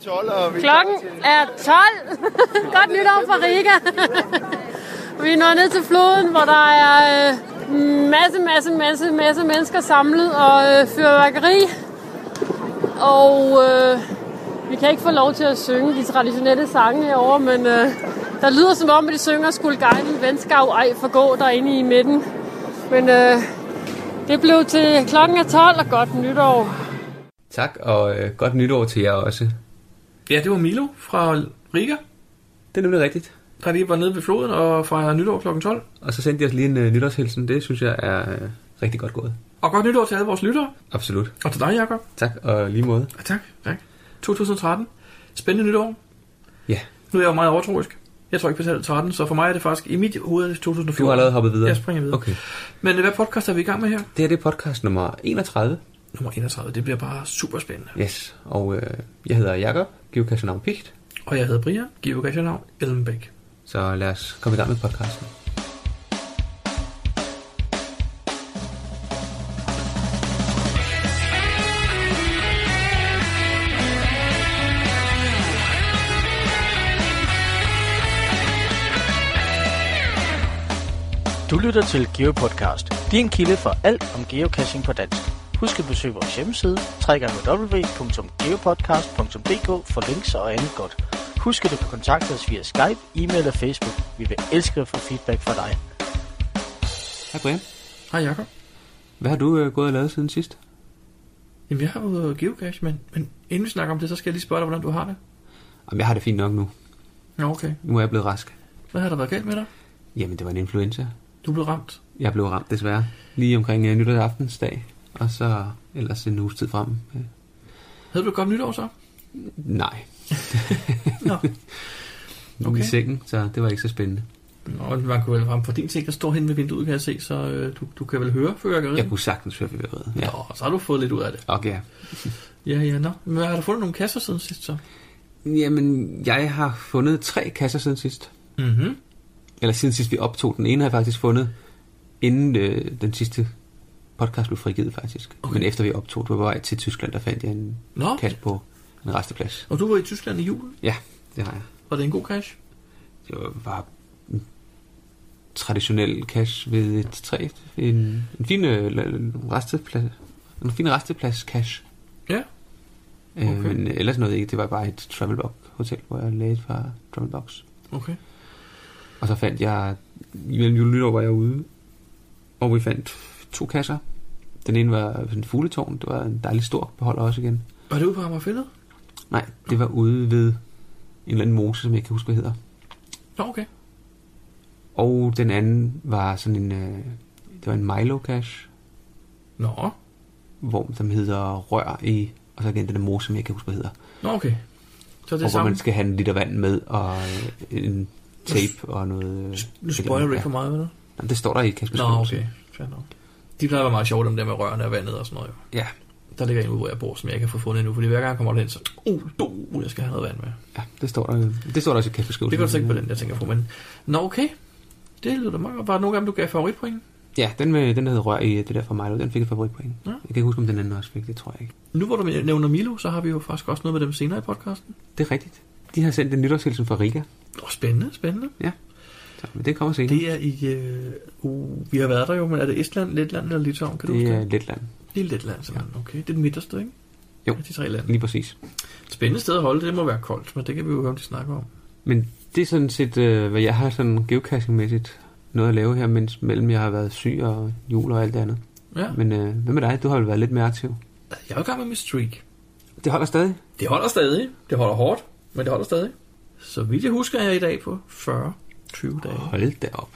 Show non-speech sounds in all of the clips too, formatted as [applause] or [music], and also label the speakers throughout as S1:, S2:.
S1: 12, og vi
S2: Klokken er 12. [laughs] Godt nytår fra Riga. [laughs] vi når ned til floden, hvor der er øh, masse, masse, masse, masse mennesker samlet og øh, fyrværkeri. Og øh, vi kan ikke få lov til at synge de traditionelle sange herover, men øh, der lyder som om, at de synger skulle guide i venskav ej forgå derinde i midten. Men øh, det blev til klokken er 12 og godt nytår.
S3: Tak, og øh, godt nytår til jer også.
S4: Ja, det var Milo fra Riga,
S3: Det er nemlig rigtigt.
S4: der lige var nede ved floden og fejrede nytår kl. 12.
S3: Og så sendte de os lige en øh, nytårshilsen. Det synes jeg er øh, rigtig godt gået.
S4: Og godt nytår til alle vores lyttere,
S3: Absolut.
S4: og til dig, Jacob.
S3: Tak, og lige måde.
S4: Ja, tak. tak. 2013. Spændende nytår.
S3: Ja,
S4: Nu er jeg jo meget overtroisk. Jeg tror ikke på tallet 13, så for mig er det faktisk i mit hoved
S3: du
S4: 2014.
S3: har allerede hoppet videre.
S4: Jeg springer videre.
S3: Okay.
S4: Men øh, hvad podcast er vi i gang med her?
S3: Det her det er podcast nummer 31.
S4: Nummer 31. Det bliver bare super spændende.
S3: Yes, og øh, jeg hedder Jakob Geocachernavn Pigt.
S4: Og jeg hedder Brian, geocacher-navn, Ellenbæk.
S3: Så lad os komme i gang med podcasten.
S5: Du lytter til GeoPodcast, din kilde for alt om geocaching på dansk. Husk at besøge vores hjemmeside, www.geopodcast.dk for links og andet godt. Husk at du kan kontakte os via Skype, e-mail og Facebook. Vi vil elske at få feedback fra dig.
S3: Hej Brian.
S4: Hej Jacob.
S3: Hvad har du øh, gået og lavet siden sidst?
S4: Jamen, jeg har jo øh, geocache, men, men inden vi snakker om det, så skal jeg lige spørge dig, hvordan du har det.
S3: Jamen, jeg har det fint nok nu.
S4: Nå, okay.
S3: Nu er jeg blevet rask.
S4: Hvad har der været galt med dig?
S3: Jamen, det var en influenza.
S4: Du blev ramt.
S3: Jeg blev ramt desværre lige omkring øh, nytårsaftensdag. Og så ellers en uges tid frem. Øh,
S4: Havde du et godt nytår så?
S3: nej,
S4: Nå.
S3: okay.
S4: Okay.
S3: i sengen, så det var ikke så spændende.
S4: Nå, man kunne vel ramme for din ting, der står hen ved vinduet, kan jeg se, så øh, du, du kan vel høre fyrværkeriet?
S3: Jeg kunne sagtens høre, vi var
S4: ja.
S3: ja.
S4: Mm. Nå, så har du fået lidt ud af det.
S3: Okay. ja.
S4: Ja, ja, nå. Men har du fundet nogle kasser siden sidst så?
S3: Jamen, jeg har fundet tre kasser siden sidst.
S4: Mhm.
S3: Eller siden sidst vi optog. Den ene har jeg faktisk fundet, inden øh, den sidste podcast blev frigivet faktisk. Okay. Men efter vi optog, det var på vej til Tyskland, der fandt jeg en
S4: Nå.
S3: kasse på en resteplads.
S4: Og du var i Tyskland i julen.
S3: Ja, det har jeg.
S4: Var det en god cash?
S3: Det var bare en traditionel cash ved et træ. En, en fin øh, la- resteplads. En fin resteplads cash.
S4: Ja.
S3: Okay. Øh,
S4: Okay.
S3: men ellers noget ikke. Det var bare et travelbox hotel, hvor jeg lagde et par travelbox.
S4: Okay.
S3: Og så fandt jeg, imellem jul og nytår var jeg ude, og vi fandt to kasser. Den ene var sådan en fugletårn, det var en dejlig stor beholder også igen.
S4: Var det ude på Amagerfællet?
S3: Nej, det var ude ved en eller anden mose, som jeg ikke kan huske, hvad hedder.
S4: Nå, okay.
S3: Og den anden var sådan en, øh, det var en Milo cache,
S4: Nå.
S3: hvor den hedder rør i, og så igen den der mose, som jeg ikke kan huske, hvad hedder.
S4: Nå, okay. Så er det
S3: og hvor
S4: samme.
S3: man skal have en liter vand med, og øh, en tape og noget... øh,
S4: Nu spoiler du ikke for meget, vel?
S3: Jamen, det står der i Kasper
S4: Nå,
S3: Skolsen.
S4: okay. Fair nok. De plejer at være meget sjovt om det med rørene og vandet og sådan noget. Jo.
S3: Ja,
S4: Der ligger en ude, hvor jeg bor, som jeg ikke har fået fundet endnu, fordi hver gang jeg kommer derhen, så... Uh, du, jeg skal have noget vand med.
S3: ja, det står der, det står der også i Kasper Skolsen.
S4: Det kan du tænke på den, jeg tænker på, men... Nå, okay. Det lyder da meget godt. Var der nogle gange, du gav favoritpoint?
S3: Ja, den, med, den der hed Rør i øh, det der fra Milo, den fik et favoritpoint. Ja.
S4: Ja.
S3: Jeg kan ikke huske, om den anden også fik det, tror jeg ikke.
S4: Nu hvor du nævner Milo, så har vi jo faktisk også noget med dem senere i podcasten.
S3: Det er rigtigt. De har sendt en nytårshilsen fra Riga,
S4: Nå, spændende, spændende.
S3: så, men det kommer senere.
S4: Det er i... Øh, uh, vi har været der jo, men er det Estland, Letland eller Litauen? Kan du
S3: det
S4: huske
S3: er
S4: det?
S3: Letland,
S4: Det er Letland, simpelthen. Okay, det er den midterste, ikke?
S3: Jo.
S4: Af de tre lande.
S3: lige præcis.
S4: Spændende sted at holde, det må være koldt, men det kan vi jo høre, om de snakker om.
S3: Men det er sådan set, øh, hvad jeg har sådan geocaching-mæssigt noget at lave her, mens mellem jeg har været syg og jul og alt det andet.
S4: Ja,
S3: Men øh, hvad med dig? Du har vel været lidt mere aktiv.
S4: jeg er jo i gang med mit streak.
S3: Det holder stadig.
S4: Det holder stadig. Det holder hårdt, men det holder stadig. Så vidt jeg husker, er jeg i dag på 40 20 dage.
S3: Hold da op.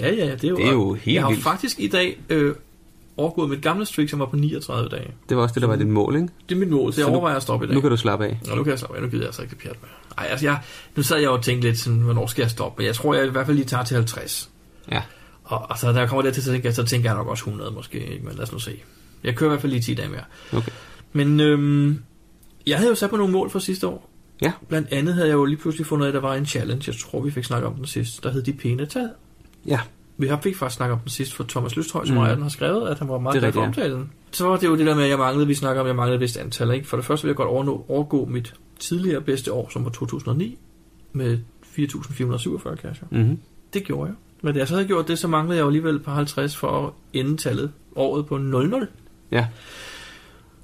S4: Ja, ja, det er jo,
S3: Det er jo helt
S4: Jeg har
S3: vildt.
S4: faktisk i dag øh, overgået mit gamle streak, som var på 39 dage.
S3: Det var også det, der var dit mål, ikke?
S4: Det er mit mål, så jeg
S3: Så nu-
S4: overvejer at stoppe i dag.
S3: Nu kan du slappe af.
S4: Nå, nu kan jeg slappe af. Nu gider jeg altså ikke det pjat med. Ej, altså jeg, nu sad jeg jo og tænkte lidt sådan, hvornår skal jeg stoppe? Men jeg tror, jeg i hvert fald lige tager til 50.
S3: Ja.
S4: Og, og så når jeg kommer dertil, så tænker jeg, så tænker jeg nok også 100 måske. Ikke? Men lad os nu se. Jeg kører i hvert fald lige 10 dage mere.
S3: Okay.
S4: Men øhm, jeg havde jo sat mig nogle mål for sidste år.
S3: Ja.
S4: Blandt andet havde jeg jo lige pludselig fundet ud af, at der var en challenge. Jeg tror, vi fik snakket om den sidst. Der hed De Pæne Tal.
S3: Ja.
S4: Vi har fik faktisk snakket om den sidst for Thomas Lysthøj, som
S3: Mm.
S4: mm. den har skrevet, at han var
S3: Det
S4: meget
S3: er
S4: glad for
S3: rigtigt,
S4: omtalen. Så var det jo det der med, at jeg manglede, vi snakker om, at jeg manglede et vist antal. Ikke? For det første vil jeg godt overnå, overgå mit tidligere bedste år, som var 2009, med 4.447 kasser.
S3: Mm-hmm.
S4: Det gjorde jeg. Men da jeg så havde gjort det, så manglede jeg jo alligevel på 50 for at ende tallet året på 00.
S3: Ja.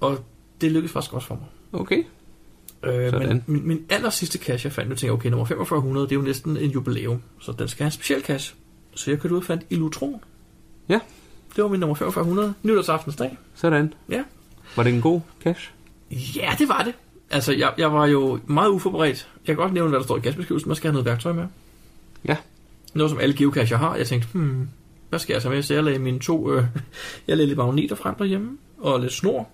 S4: Og det lykkedes faktisk også for mig.
S3: Okay.
S4: Øh,
S3: Sådan.
S4: men min, min aller sidste cash, jeg fandt, nu tænkte jeg, okay, nummer 4500, det er jo næsten en jubilæum, så den skal have en speciel cash. Så jeg kørte ud og fandt Illutron.
S3: Ja.
S4: Det var min nummer 4500, nytårsaftensdag.
S3: Sådan.
S4: Ja.
S3: Var det en god cash?
S4: Ja, det var det. Altså, jeg, jeg var jo meget uforberedt. Jeg kan godt nævne, hvad der står i gasbeskrivelsen. Man skal have noget værktøj med.
S3: Ja.
S4: Noget, som alle geocacher har. Jeg tænkte, hmm, hvad skal jeg så med? Så jeg lagde mine to... Øh, [laughs] jeg lagde lidt magneter frem derhjemme, og lidt snor,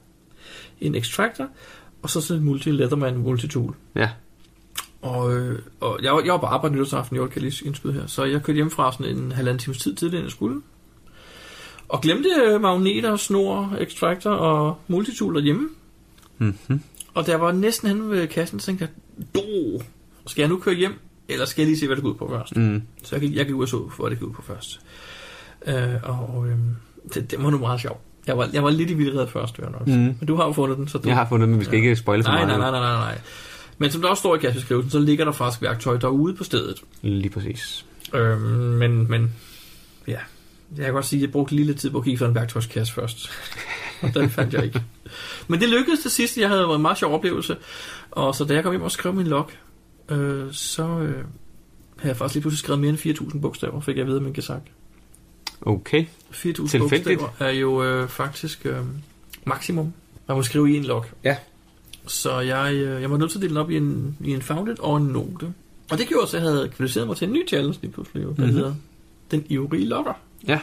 S4: en extractor, og så sådan en multi-leatherman multitool.
S3: Ja.
S4: Og, øh, og jeg, var, jeg var på arbejde nytårsaften, jeg kan jeg lige indskyde her. Så jeg kørte hjem fra sådan en halvanden times tid tidligere, end jeg skulle. Og glemte øh, magneter, snor, extractor og multitool derhjemme.
S3: Mm-hmm.
S4: Og da jeg var næsten henne ved kassen, så tænkte jeg, "Åh, skal jeg nu køre hjem, eller skal jeg lige se, hvad det går ud på først?
S3: Mm.
S4: Så jeg, gik- jeg gik ud og så, hvad det gik ud på først. Øh, og øh, det, det, var nu meget sjovt. Jeg var, jeg var lidt i vildrede først, vil jeg nok. Mm.
S3: Mm.
S4: Men du har jo fundet den, så du...
S3: Jeg har fundet, men vi skal ikke spoile for
S4: nej, nej,
S3: meget.
S4: nej, nej, nej, nej. Men som der også står i gasbeskrivelsen, så ligger der faktisk værktøj derude på stedet.
S3: Lige præcis.
S4: Øh, men, men ja, jeg kan godt sige, at jeg brugte lige lidt tid på at kigge for en værktøjskasse først. og den fandt jeg ikke. Men det lykkedes til sidst. Jeg havde været en meget sjov oplevelse. Og så da jeg kom hjem og skrev min log, øh, så øh, havde jeg faktisk lige pludselig skrevet mere end 4.000 bogstaver, fik jeg ved min gesak.
S3: Okay.
S4: 4.000
S3: Tilfældigt.
S4: bogstaver er jo øh, faktisk øh, maksimum, man må skrive i en log.
S3: Ja.
S4: Så jeg, øh, jeg var nødt til at dele den op i en, i en founded og en note. Og det gjorde så, at jeg havde kvalificeret mig til en ny challenge lige pludselig, jo, der
S3: Mhm.
S4: mm-hmm. hedder Den Ivrige Lokker.
S3: Ja.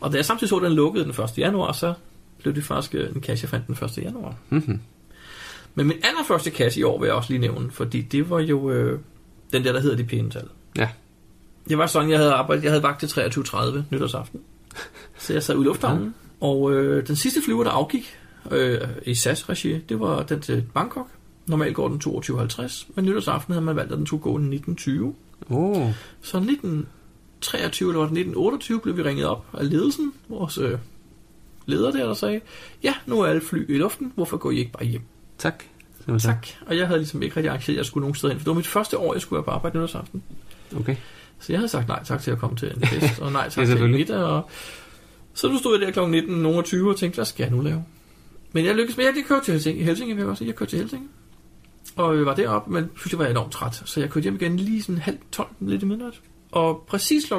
S4: Og da jeg samtidig så, at den lukkede den 1. januar, så blev det faktisk øh, en kasse, jeg fandt den 1. januar.
S3: Mm-hmm.
S4: Men min allerførste kasse i år vil jeg også lige nævne, fordi det var jo øh, den der, der hedder de pæne tal.
S3: Ja.
S4: Det var sådan, jeg havde arbejdet. Jeg havde vagt til 23.30 nytårsaften. Så jeg sad ude i lufthavnen. Og øh, den sidste flyver, der afgik øh, i SAS-regi, det var den til Bangkok. Normalt går den 22.50, men nytårsaften havde man valgt, at den skulle gå 19.20.
S3: Oh.
S4: Så 1923 eller var det 1928 blev vi ringet op af ledelsen, vores øh, leder der, der sagde, ja, nu er alle fly i luften, hvorfor går I ikke bare hjem?
S3: Tak. Som sagt.
S4: Tak. Og jeg havde ligesom ikke rigtig arrangeret, at jeg skulle nogen steder hen, for det var mit første år, jeg skulle være på arbejde nytårsaften.
S3: Okay.
S4: Så jeg havde sagt nej tak til at komme til en fest, og nej tak til en
S3: selvfølgelig.
S4: middag. Og... Så nu stod jeg der kl. 19, nogen og 20 og tænkte, hvad skal jeg nu lave? Men jeg lykkedes med, at jeg kørte til Helsinge. Helsinge vil jeg godt sige. Jeg kørte til Helsinge. Og jeg var deroppe, men pludselig var jeg enormt træt. Så jeg kørte hjem igen lige sådan halv 12, lidt i midnat. Og præcis kl. 12.00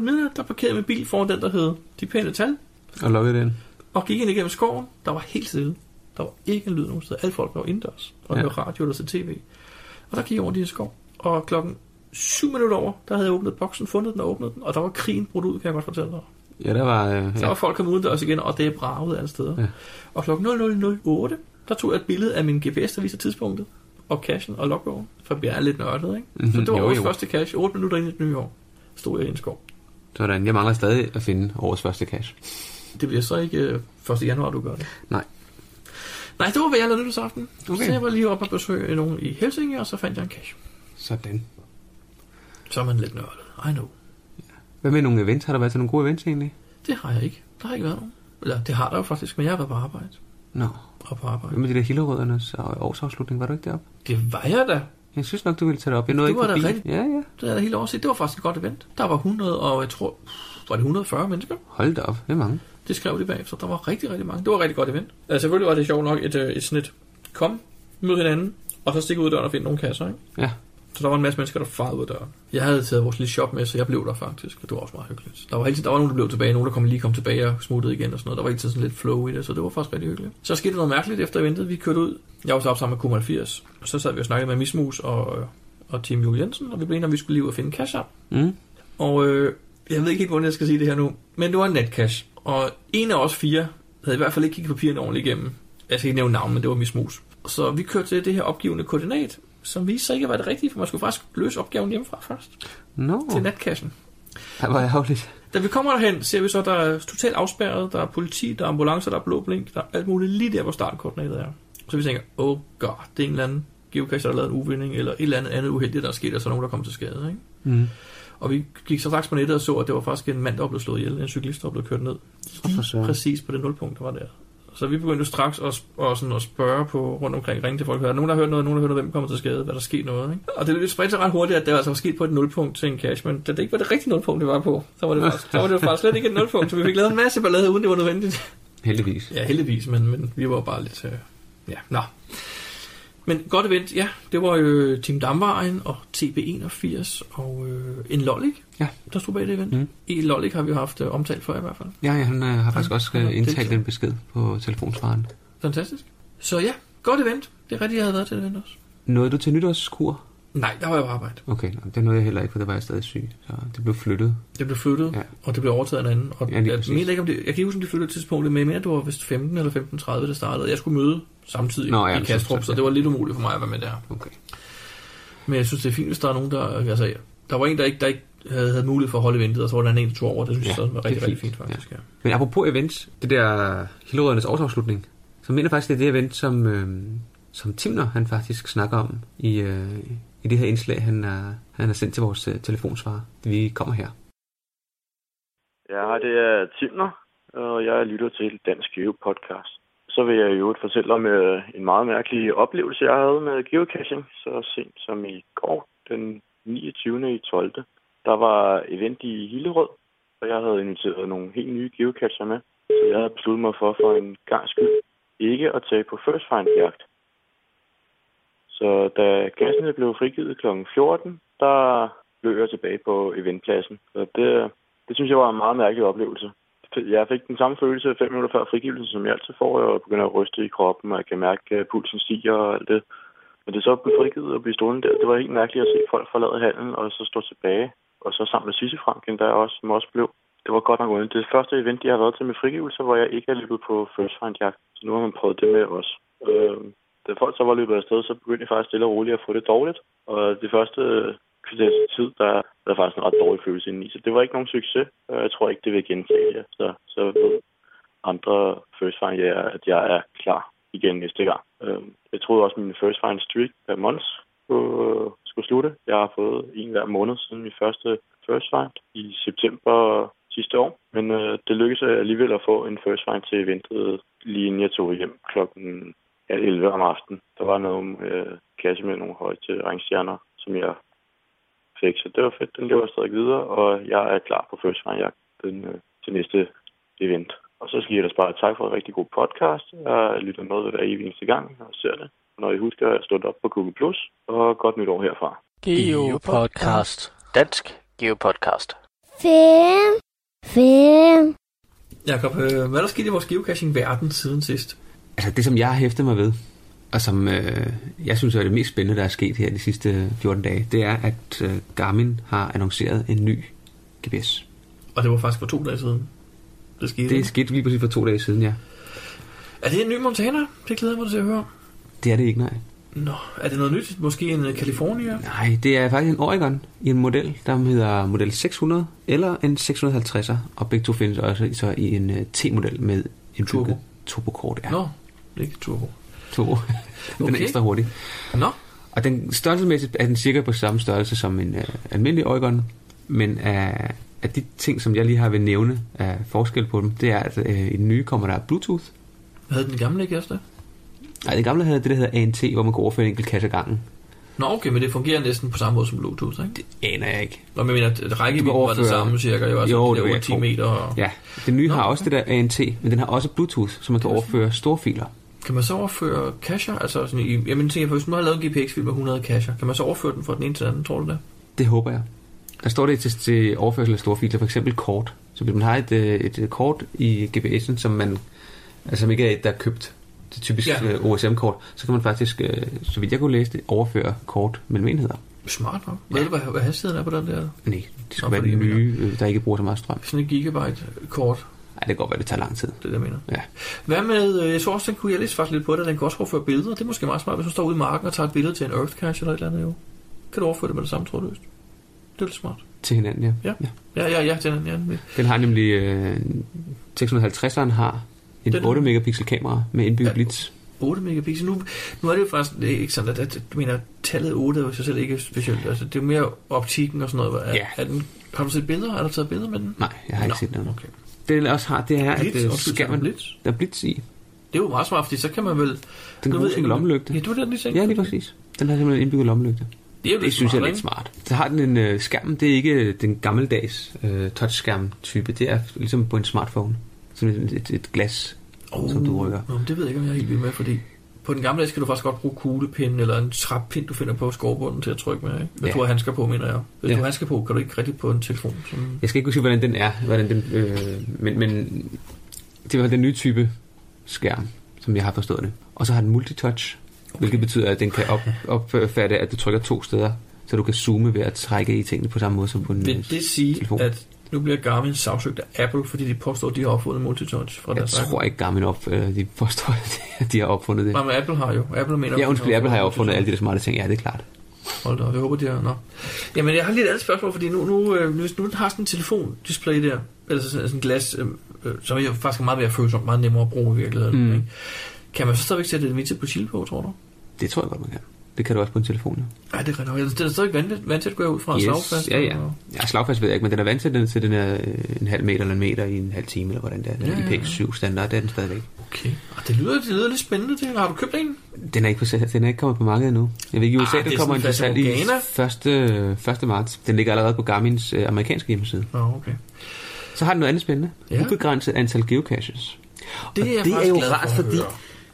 S4: midnat, der parkerede min bil foran den, der hed De Pæne Tal.
S3: Og lukket den.
S4: Og gik ind igennem skoven, der var helt stille. Der var ikke en lyd nogen steder. Alle folk var indendørs. Og der
S3: Ja.
S4: var radio, der så tv. Og der gik jeg over i den skov. Og klokken 7 minutter over, der havde jeg åbnet boksen, fundet den og åbnet den. Og der var krigen brudt ud, kan jeg godt fortælle dig.
S3: Ja, der var... Øh,
S4: Så
S3: ja.
S4: var folk kommet udendørs igen, og det er braget alle steder.
S3: Ja.
S4: Og klokken 00.08, der tog jeg et billede af min GPS, der viser tidspunktet. Og cashen og logbogen. For jeg er lidt nørdet, ikke?
S3: Mhm,
S4: Så det var
S3: jo,
S4: vores
S3: jo.
S4: første cash. 8 minutter ind i det nye år, stod jeg i en skov.
S3: Sådan. Jeg mangler stadig at finde årets første cash.
S4: Det bliver så ikke øh, 1. januar, du gør det.
S3: Nej.
S4: Nej, det var, hvad jeg lavede nytårsaften. Okay.
S3: Okay.
S4: Så jeg var lige oppe og besøge nogen i Helsinge, og så fandt jeg en cash.
S3: Sådan.
S4: Så er man lidt nørdet. I know.
S3: Hvad med nogle events? Har der været til nogle gode events egentlig?
S4: Det har jeg ikke. Der har ikke været nogen. Eller det har der jo faktisk, men jeg har været på arbejde.
S3: Nå.
S4: Og på arbejde.
S3: Hvad med de der hillerødernes og årsafslutning? Var du ikke deroppe?
S4: Det var jeg da.
S3: Jeg synes nok, du ville tage det op. Jeg nåede
S4: Du
S3: ikke
S4: var da
S3: forbi.
S4: rigtig-
S3: Ja, ja.
S4: Det er da helt overset. Det var faktisk et godt event. Der var 100, og jeg tror, var det 140 mennesker?
S3: Hold da op. Det er mange.
S4: Det skrev de bagefter. Der var rigtig, rigtig mange. Det var et rigtig godt event. Altså, selvfølgelig var det sjovt nok et, øh, et snit. Kom, mød hinanden, og så stikke ud af døren og finde nogle kasser, ikke?
S3: Ja.
S4: Så der var en masse mennesker, der farede ud af døren. Jeg havde taget vores lille shop med, så jeg blev der faktisk. Og det var også meget hyggeligt. Der var, hele tiden, der var nogen, der blev tilbage, nogen, der kom lige kom tilbage og smuttede igen og sådan noget. Der var hele tiden sådan lidt flow i det, så det var faktisk rigtig hyggeligt. Så skete der noget mærkeligt efter eventet. Vi kørte ud. Jeg var så op sammen med Kuma 80. Og så sad vi og snakkede med Mismus og, øh, og Tim Juel Jensen, og vi blev enige om, at vi skulle lige ud og finde cash op.
S3: Mm.
S4: Og øh, jeg ved ikke helt, hvordan jeg skal sige det her nu, men det var en netcash. Og en af os fire havde i hvert fald ikke kigget papirerne ordentligt igennem. Jeg skal ikke nævne navn, men det var mis mus. Så vi kørte til det her opgivende koordinat, som viste sig ikke at være det rigtige, for man skulle faktisk løse opgaven hjemmefra først
S3: Nå.
S4: til netcashen.
S3: Der var jeg lidt.
S4: Da vi kommer derhen, ser vi så, at der er totalt afspærret, der er politi, der er ambulancer, der er blå blink, der er alt muligt lige der, hvor startkoordinatet er. Så vi tænker, oh god, det er en eller anden geocacher, der har lavet en uvinding, eller et eller andet andet uheldigt, der er sket, og så er nogen, der kommer til skade. Ikke?
S3: Mm.
S4: Og vi gik så straks på nettet og så, at det var faktisk en mand, der blev slået ihjel, en cyklist, der blev kørt ned.
S3: for
S4: Lige
S3: søren.
S4: præcis på det nulpunkt, der var der. Så vi begyndte jo straks at, sp- og sådan at spørge på rundt omkring, ringe til folk, er der nogen, der har hørt noget, nogen, der har hørt noget, hvem kommer til skade, hvad der sket noget. Ikke? Og det spredte sig ret hurtigt, at det altså var sket på et nulpunkt til en cash, men da det ikke var det rigtige nulpunkt, det var på, så
S3: [laughs]
S4: var det faktisk, så var det jo faktisk slet ikke et nulpunkt, så vi fik lavet en masse ballade, uden det var nødvendigt.
S3: Heldigvis.
S4: Ja, heldigvis, men, men vi var bare lidt... Øh, ja, nå. Men godt event, ja. Det var jo Team Damvejen og TB81 og øh, en Lollik,
S3: Ja.
S4: der stod bag det event. Mm.
S3: Mm.
S4: En Lollik har vi jo haft øh, omtalt for i hvert fald.
S3: Ja, ja han øh, har faktisk også
S4: han har
S3: øh, indtalt
S4: deltaget.
S3: den besked på telefonsvaren.
S4: Fantastisk. Så ja, godt event. Det er rigtigt, jeg havde været til det event også.
S3: Nåede du til nytårskur?
S4: Nej, der var jeg på arbejde.
S3: Okay, nå, det nåede jeg heller ikke, for der var jeg stadig syg. Så det blev flyttet.
S4: Det blev flyttet, ja.
S3: Ja.
S4: og det blev overtaget af en anden. Og
S3: Ja,
S4: ja,
S3: lige
S4: jeg,
S3: præcis.
S4: mener ikke, om det, jeg kan ikke huske, om de flyttede tidspunktet, men jeg mener, det var vist 15 eller 15.30, det startede. Jeg skulle møde samtidig Nå,
S3: Nå,
S4: ja,
S3: ja,
S4: i
S3: det synes
S4: Kastrup,
S3: jeg,
S4: så
S3: ja.
S4: det var lidt umuligt for mig at være med der.
S3: Okay.
S4: Men jeg synes, det er fint, hvis der er nogen, der... Altså, der var en, der ikke, der ikke havde, havde mulighed for at holde ventet, og så var der en, der tog over. Det synes ja,
S3: Ja,
S4: jeg så var
S3: det er
S4: rigtig, rigtig fint,
S3: fint,
S4: faktisk. Ja.
S3: Men apropos events, det der Hillerødernes årsafslutning, så mener jeg faktisk, det er det event, som, øh, som Timner han faktisk snakker om i, øh, i det her indslag, han har, han har sendt til vores øh, telefonsvarer. Vi kommer her.
S1: Ja, hej, det er Timner, og jeg lytter til Dansk Geo Podcast. Så vil jeg i øvrigt fortælle om øh, en meget mærkelig oplevelse, jeg havde med geocaching så sent som i går, den 29. i 12. Der var event i Hillerød, og jeg havde inviteret nogle helt nye geocacher med, så jeg havde besluttet mig for for en gang skyld ikke at tage på first find jagt. Så da gassene blev frigivet kl. 14, der blev jeg tilbage på eventpladsen. Så det, det synes jeg var en meget mærkelig oplevelse. Jeg fik den samme følelse fem minutter før frigivelsen, som jeg altid får. Jeg begynder at ryste i kroppen, og jeg kan mærke, at pulsen stiger og alt det. Men det er så at blive frigivet og blive stående der. Det var helt mærkeligt at se folk forlade hallen og så stå tilbage. Og så sammen med Sisse Franken, der også, som også blev. Det var godt nok uden. Det første event, jeg har været til med frigivelse, hvor jeg ikke er løbet på first find jagt. Så nu har man prøvet det med os. Øh, da folk så var løbet afsted, så begyndte jeg faktisk stille og roligt at få det dårligt. Og det første kvarters tid, der var der faktisk en ret dårlig følelse indeni. Så det var ikke nogen succes, og jeg tror ikke, det vil gentage det. Så, så ved andre first find, jeg, at jeg er klar igen næste gang. Øh, Jeg troede også, at min first find streak per måned skulle, skulle slutte. Jeg har fået en hver måned siden min første first find i september sidste år. Men øh, det lykkedes alligevel at få en first find til eventet, lige inden jeg tog hjem klokken halv 11 om aftenen. Der var noget øh, kasse med nogle højte rangstjerner, som jeg fik. Så det var fedt. Den lever stadig videre, og jeg er klar på First Find Jagt den, øh, til næste event. Og så skal jeg ellers bare have tak for en rigtig god podcast. Jeg lytter med hver evig eneste gang og ser det. Når I husker at slå det op på Google+, Plus, og godt nytår herfra.
S5: Geo Podcast. Dansk Geo Podcast.
S6: fem, fem,
S4: Jakob, øh, hvad er der sket i vores geocaching-verden siden sidst?
S3: Altså det, som jeg har hæftet mig ved, og som øh, jeg synes er det mest spændende, der er sket her de sidste 14 dage, det er, at øh, Garmin har annonceret en ny GPS.
S4: Og det var faktisk for to dage siden. Det skete.
S3: Det skete lige præcis for to dage siden, ja.
S4: Er det en ny Montana? Det glæder jeg mig til at høre.
S3: Det er det ikke, nej.
S4: Nå, er det noget nyt? Måske en øh, California?
S3: Nej, det er faktisk en Oregon i en model, der hedder model 600 eller en 650'er, og begge to findes også så i en øh, T-model med en
S4: Turbo.
S3: turbokort. Ja,
S4: Ja. Nå, det er ikke turbo.
S3: turbo. [laughs] den
S4: Okay.
S3: er ekstra hurtig.
S4: Nå,
S3: Og den størrelsesmæssigt er den cirka på samme størrelse som en øh, almindelig Oregon, men af, af de ting, som jeg lige har ved nævne af forskel på dem, det er, at øh, i den nye kommer der Bluetooth.
S4: hvad havde den gamle ikke efter?
S3: Nej, det gamle havde det, der hedder ANT, hvor man kunne overføre en enkelt kasse ad gangen.
S4: Nå, okay, men det fungerer næsten på samme måde som Bluetooth, ikke?
S3: Aner jeg ikke.
S4: Nå, men jeg mener, at rækkevidden var det
S3: overføre-
S4: samme cirka, jo, altså
S3: Jo,
S4: jo,
S3: det
S4: de
S3: vil
S4: der
S3: jeg
S4: 10
S3: tro.
S4: meter. Og... Ja.
S3: Ja, den nye
S4: Nå,
S3: har også det der ANT, men den har også Bluetooth, så man kan overføre store filer.
S4: Kan man så overføre cacher? Altså, sådan, i- jamen, tænker jeg, hvis man har lavet en GPX-film med 100 cacher, kan man så overføre den fra den ene til den anden, tror du det?
S3: Det håber jeg. Der står det til, til overførsel af store filer, for eksempel kort. Så hvis man har et, øh, et øh, kort i GPS'en, som man altså, som ikke er et, der er købt, det er typisk øh,
S4: Ja.
S3: ja. OSM-kort, så kan man faktisk, øh, så vidt jeg kunne læse det, overføre kort mellem enheder.
S4: Smart nok. Ved du, hvad, hvad hastigheden er på den der?
S3: Nej, det skal
S4: Nå,
S3: være
S4: fordi
S3: de
S4: jeg
S3: nye, øh, der ikke bruger så meget strøm.
S4: Sådan et gigabyte-kort,
S3: Nej, det kan godt være, det tager lang tid.
S4: det er det, jeg mener.
S3: Ja.
S4: Hvad med, øh, jeg så også, den kunne jeg læse faktisk lidt på det, den kan også overføre billeder. Det er måske meget smart, hvis du står ude i marken og tager et billede til en Earth cache eller et eller andet, jo. Kan du overføre det med det samme, tror du? Det er lidt smart.
S3: Til hinanden, ja.
S4: Ja. Ja, ja, ja, den er, ja, den
S3: Den har nemlig, øh, 650'eren har et
S4: Den-
S3: 8 megapixel kamera med indbygget
S4: Ja.
S3: blitz.
S4: 8 megapixel. Nu, nu er det jo faktisk det er ikke sådan, at, at du mener, tallet 8 er jo i sig selv ikke specielt. Altså, det er mere optikken og sådan noget. Er,
S3: Ja.
S4: er den, har du set billeder? Har du taget billeder med den?
S3: Nej, jeg har ikke
S4: Nå,
S3: set noget.
S4: Okay.
S3: Det den også har, det er, at
S4: Blitz,
S3: øh,
S4: også
S3: skærmen,
S4: blitz.
S3: der er blitz i.
S4: Det Det er jo meget smart, fordi så kan man vel...
S3: Den
S4: Nu ved
S3: bruges
S4: jeg
S3: som
S4: ikke-
S3: lommelygte.
S4: Ja, du er den lige tænkt.
S3: Ja, lige præcis. Den har simpelthen indbygget lommelygte.
S4: Det er jo
S3: Det
S4: lidt
S3: synes jeg er
S4: smart,
S3: lidt
S4: ikke?
S3: smart. Så har den en øh, skærm, det er ikke den gammeldags øh, touchskærm-type. Det er ligesom på en smartphone. Som et, et, et glas, oh. som du rykker.
S4: Nå, men det ved jeg ikke, om jeg er helt vild med, fordi på den gamle dag skal du faktisk godt bruge kuglepinden eller en trappind, du finder på skovbunden til at trykke med. Ikke? Hvis
S3: Ja.
S4: du har handsker på, mener jeg. Hvis
S3: Ja.
S4: du har handsker på, kan du ikke rigtig på en telefon. Som...
S3: Jeg skal ikke huske, hvordan den er. Hvordan den, øh, men, men det er i hvert fald den nye type skærm, som jeg har forstået det. Og så har den multitouch, okay. hvilket betyder, at den kan op, opfatte, at du trykker to steder, så du kan zoome ved at trække i tingene på samme måde som på en øh,
S4: Vil det sige,
S3: telefon.
S4: at nu bliver Garmin sagsøgt af Apple, fordi de påstår, at de har opfundet multitouch fra
S3: Jeg
S4: deres
S3: tror ikke, Garmin op, øh, de forstår, [laughs] at de har opfundet det.
S4: Nej, men Apple har jo. Apple mener,
S3: Ja, undskyld, Apple har jo opfundet alle de der smarte ting. Ja, det er klart.
S4: Hold da, op, jeg håber, de har... Nå. Jamen, jeg har lige et andet spørgsmål, fordi nu, nu, øh, hvis nu den har sådan en telefondisplay der, eller så sådan, sådan en glas, øh, øh, som er jo faktisk meget mere følsom, meget nemmere at bruge i virkeligheden.
S3: Mm.
S4: Mm. Ikke? Kan man så stadigvæk sætte et vintage på chili på, tror du?
S3: Det tror jeg godt, man kan. Det kan du også på en telefon, jo.
S4: Nej, det er rigtig nok. Den er stadigvæk vandtæt, vandtæt går jeg ud fra. slagfast,
S3: ja, ja.
S4: og-
S3: Ja, slagfast ved jeg ikke, men den er vant til, den, til den er øh, en halv meter eller en meter i en halv time, eller hvordan det er. Den
S4: Ja,
S3: er
S4: ja, ja.
S3: IPX7 standard, det er den stadigvæk.
S4: Okay. Og det lyder, det lyder lidt spændende, det. Har du købt en?
S3: Den er ikke, på, salg- den er ikke kommet på markedet endnu. Jeg ved ikke, i
S4: Ah,
S3: USA,
S4: det er
S3: den
S4: sådan
S3: kommer
S4: en
S3: til
S4: flaske
S3: salg i
S4: Morgana.
S3: 1. 1. marts. Den ligger allerede på Garmin's øh, amerikanske hjemmeside.
S4: Nå, okay. [laughs]
S3: Så har den noget andet spændende.
S4: Ja.
S3: Ubegrænset antal geocaches.
S4: Det er, jeg
S3: det er
S4: faktisk
S3: jo
S4: glad for
S3: rart,
S4: at
S3: fordi
S4: høre.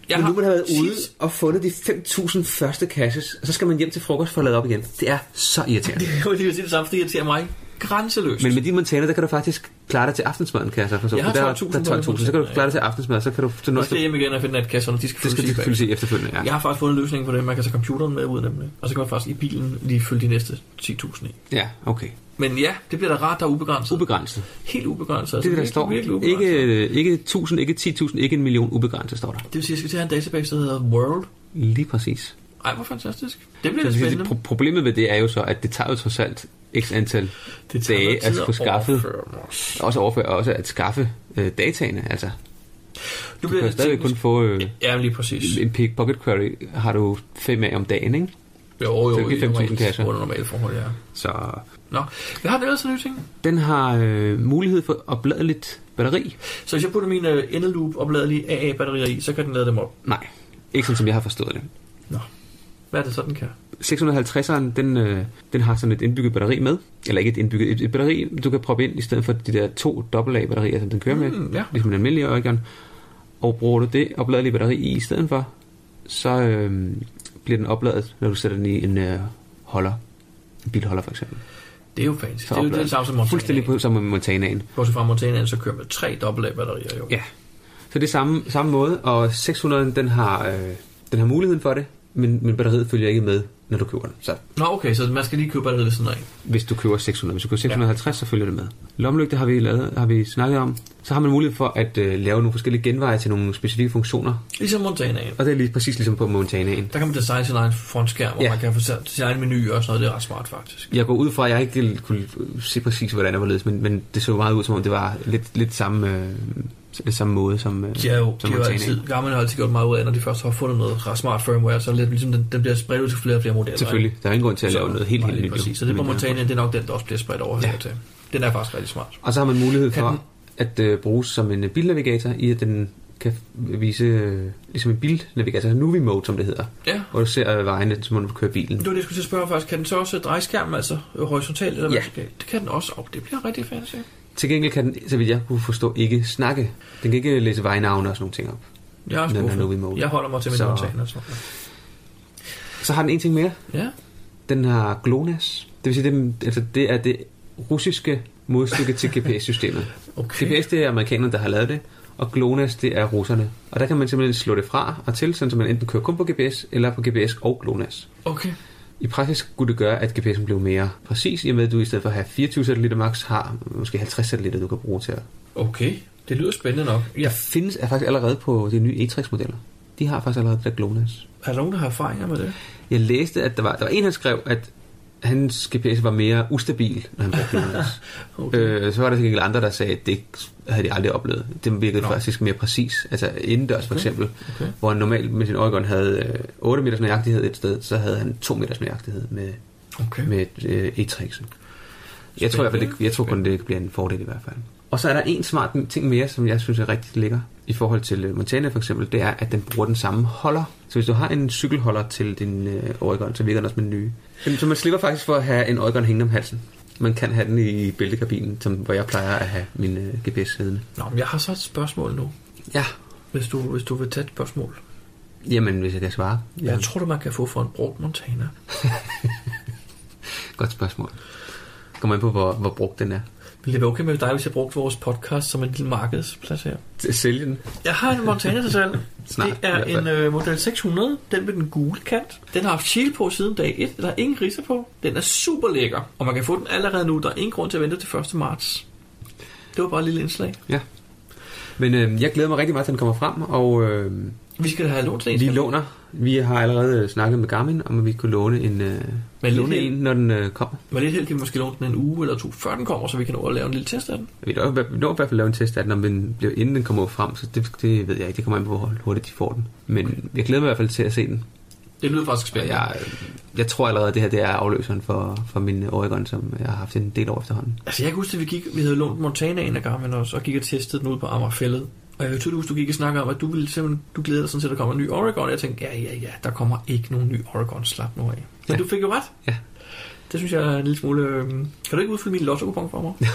S3: Jeg men nu
S4: har
S3: må det have været ude
S4: tit-
S3: og fundet de 5.000 første caches, og så skal man hjem til frokost for at lade op igen. Det er så irriterende.
S4: Jeg vil lige vil sige det samme, fordi det irriterer mig grænseløst.
S3: [laughs] Men med de Montana, der kan du faktisk klare dig til aftensmaden, kan jeg så forstå.
S4: Jeg har
S3: For der er-
S4: 12.000
S3: der er 12.000, så kan du klare dig til aftensmaden, så kan du... Så når
S4: nu
S3: du
S4: skal jeg hjem igen og finde natkasserne, de skal
S3: det skal
S4: fyldes i
S3: du
S4: bag.
S3: fylde sig efterfølgende, ja.
S4: Jeg har faktisk fundet en løsning på det. Man kan tage computeren med ud nemlig. Og så kan man faktisk i bilen lige følge de næste 10.000 i.
S3: Ja, okay.
S4: Men ja, det bliver da rart, der er ubegrænset.
S3: Ubegrænset.
S4: Helt ubegrænset. Altså,
S3: Det er det, der
S4: virkelig,
S3: står.
S4: Virkelig ubegrænset. Ikke...
S3: Ikke, øh, ikke 1000, ikke 10.000, ikke en million ubegrænset, står der.
S4: Det vil sige, at jeg skal til at have en database, der hedder World.
S3: Lige præcis.
S4: Ej, hvor fantastisk. Det bliver
S3: Det
S4: da
S3: vil sige, det
S4: spændende.
S3: pro- problemet ved det er jo så, at det tager jo trods alt x antal
S4: Det tager noget
S3: dage
S4: tid
S3: at få
S4: at
S3: skaffet,
S4: overføre.
S3: også overføre, og også at skaffe øh, dataene. Altså,
S4: Nu
S3: du kan
S4: bliver
S3: jo
S4: det
S3: stadigvæk kun
S4: teknisk.
S3: få øh,
S4: Ja, lige præcis.
S3: en pickpocket query, har du fem af om dagen, ikke?
S4: Jo, jo,
S3: Så
S4: jo.
S3: det bliver 5.000
S4: i normalt-
S3: kasser.
S4: Under normale forhold, ja.
S3: Så
S4: Nå, jeg har ellers en ny ting.
S3: den har øh, mulighed for opladeligt batteri.
S4: Så hvis jeg putter mine endeloop opladelige AA-batterier i, så kan den lade dem op.
S3: Nej, ikke sådan som jeg har forstået det.
S4: Hvad er det så, den kan?
S3: 650'eren, den, øh, den har sådan et indbygget batteri med. Eller ikke et indbygget, et, et batteri, du kan proppe ind i stedet for de der to AA-batterier, som den kører med.
S4: Mm, ja.
S3: Ligesom en almindelig Oricon. Og bruger du det opladelige batteri i i stedet for, så øh, bliver den opladet, når du sætter den i en øh, holder. En bilholder for eksempel.
S4: Det er jo fancy.
S3: Så
S4: Det er jo
S3: opladet.
S4: det samme som Montana.
S3: Fuldstændig på som med Montanaen.
S4: Bortset fra Montanaen, så kører man tre AA-batterier jo.
S3: Ja. Så det er samme, samme måde, og 600'eren, den har, øh, den har muligheden for det, men, men batteriet følger ikke med, når du køber den. Så
S4: Nå, okay, så man skal lige købe batteriet ved siden af.
S3: hvis du køber 600. Hvis du køber 650, ja. så følger det med. Lommelygte har vi, lavet, har vi snakket om. Så har man mulighed for at øh, lave nogle forskellige genveje til nogle specifikke funktioner.
S4: Ligesom Montanaen.
S3: Og det er lige præcis ligesom på Montanaen.
S4: Der kan man designe sin egen frontskærm, og
S3: Ja.
S4: ja. man kan få sat sin egen menu og sådan noget. Det er ret smart, faktisk.
S3: Jeg går ud fra, at jeg ikke kunne se præcis, hvordan det var ledes, men, men det så meget ud, som om det var lidt, lidt samme, øh, lidt samme måde som, øh,
S4: De er jo, de
S3: som
S4: er jo
S3: Montanaen.
S4: altid, Garmin har altid gjort meget ud af, når de først har fundet noget ret smart firmware, så er det lidt, ligesom den, den bliver spredt ud til flere og flere modeller.
S3: Selvfølgelig. Der er ingen grund til at
S4: Så-
S3: lave noget helt,
S4: Nej,
S3: helt
S4: lige
S3: nyt. jo.
S4: Præcis, så det på
S3: Men, øh,
S4: Montanaen, det er nok den, der også bliver spredt over
S3: Ja.
S4: ja. til. Den er faktisk rigtig smart.
S3: Og så har man mulighed
S4: Kan den-
S3: for at øh, bruges som en øh, bilnavigator, i at den kan vise, øh, ligesom en bilnavigator, Nuvi Mode, som det hedder.
S4: Ja.
S3: Hvor du ser øh, vejene, som om du kører bilen.
S4: Det var det, jeg skulle til at spørge om, faktisk. Kan den så også dreje skærmen, altså øh, horisontalt eller
S3: Ja.
S4: vertikalt? Det kan den også. Oh, det bliver rigtig fancy.
S3: Til gengæld kan den, så vidt jeg kunne forstå, ikke snakke. Den kan ikke læse vejnavne og sådan nogle ting op.
S4: Jeg er
S3: Den er nu i
S4: skuffet.
S3: mål.
S4: Jeg holder mig til min
S3: Så-
S4: Montana, tror jeg.
S3: Så har den en ting mere.
S4: Ja.
S3: Den har GLONASS. Det vil sige, det, altså, det er det russiske modstykke til GPS-systemet.
S4: [laughs] Okay.
S3: GPS, det er amerikanerne, der har lavet det. Og GLONASS, det er russerne. Og der kan man simpelthen slå det fra og til, sådan så man enten kører kun på GPS, eller på GPS og GLONASS.
S4: Okay.
S3: I praksis skulle det gøre, at GPS'en blev mere præcis, i og med at du i stedet for at have 24 satellitter max, har måske 50 satellitter, du kan bruge til at...
S4: Okay. Det lyder spændende nok.
S3: Der
S4: Ja.
S3: findes er faktisk allerede på de nye E-Trix-modeller. De har faktisk allerede det der GLONASS.
S4: Er der nogen, der har erfaringer med det?
S3: Jeg læste, at der var, der var en, der skrev, at hans GPS var mere ustabil, når han [laughs] brugte GLONASS. okay. øh, så var der til gengæld andre, der sagde, at det havde de aldrig oplevet. Det virkede Nå. faktisk mere præcis. Altså indendørs for eksempel, okay. hvor han normalt med sin Oregon havde øh, 8 meters nøjagtighed et sted, så havde han 2 meters nøjagtighed med,
S4: Okay.
S3: med øh, e-trixen. Jeg tror, i hvert fald, det, jeg tror kun, det bliver en fordel i hvert fald. Og så er der en smart ting mere, som jeg synes er rigtig lækker i forhold til øh, Montana for eksempel, det er, at den bruger den samme holder. Så hvis du har en cykelholder til din øh, Oregon, så virker den også med den nye. Jamen, Så man slipper faktisk for at have en Oregon hængende om halsen. Man kan have den i bæltekabinen, som, hvor jeg plejer at have min øh, GPS siddende.
S4: Nå, men jeg har så et spørgsmål nu,
S3: Ja,
S4: hvis du, hvis du vil tage et spørgsmål.
S3: jamen hvis jeg kan svare.
S4: Ja. Hvad tror du, man kan få for en brugt Montana?
S3: Godt spørgsmål. Kommer ind på, hvor, hvor brugt den er.
S4: Ville det være okay med dig, hvis jeg brugte vores podcast som en lille markedsplads her?
S3: Til at Sælge den.
S4: Jeg har en Montana til salg.
S3: [laughs] Snart,
S4: det
S3: i
S4: er
S3: hvert fald.
S4: en øh, model 600, den med den gule kant. Den har haft shield på siden dag 1, der er ingen ridser på. Den er super lækker, og man kan få den allerede nu. Der er ingen grund til at vente til 1. marts. Det var bare et lille indslag.
S3: Ja. Men øh, jeg glæder mig rigtig meget, til den kommer frem, og øh,
S4: Vi skal da have lånt til en.
S3: vi låner. Vi har allerede øh, snakket med Garmin, om at vi kunne låne en, øh,
S4: Men
S3: låne
S4: lige-
S3: en når den øh, kommer.
S4: Men lidt heldig, kan vi måske låne den en uge eller to, før den kommer, så vi kan nå at lave en lille test af den.
S3: Vi når, vi når i hvert fald at lave en test af den, om den bliver, inden den kommer frem, så det, det ved jeg ikke. Det kommer an på, hvor hurtigt de får den. Men jeg glæder mig i hvert fald til at se den.
S4: Det lyder faktisk
S3: Og
S4: spændende.
S3: jeg, øh, jeg tror allerede, at det her det er afløseren for, for min øh, Oregon, som jeg har haft en del år efterhånden.
S4: Altså, jeg kan huske, at vi, gik, vi havde lånt Montanaen af Garmin også, og gik og testede den ud på Amagerfællet. Og jeg kan tydeligt huske, du gik og snakkede om, at du ville simpelthen, du glæder dig sådan set, at der kommer en ny Oregon. Og jeg tænkte, ja, ja, ja, der kommer ikke nogen ny Oregon, slap nu af. Men
S3: Ja.
S4: ja. du fik jo ret.
S3: Ja.
S4: Det synes jeg er en lille smule... Øh... Kan du ikke udfylde min lotto
S3: [laughs]
S4: for mig?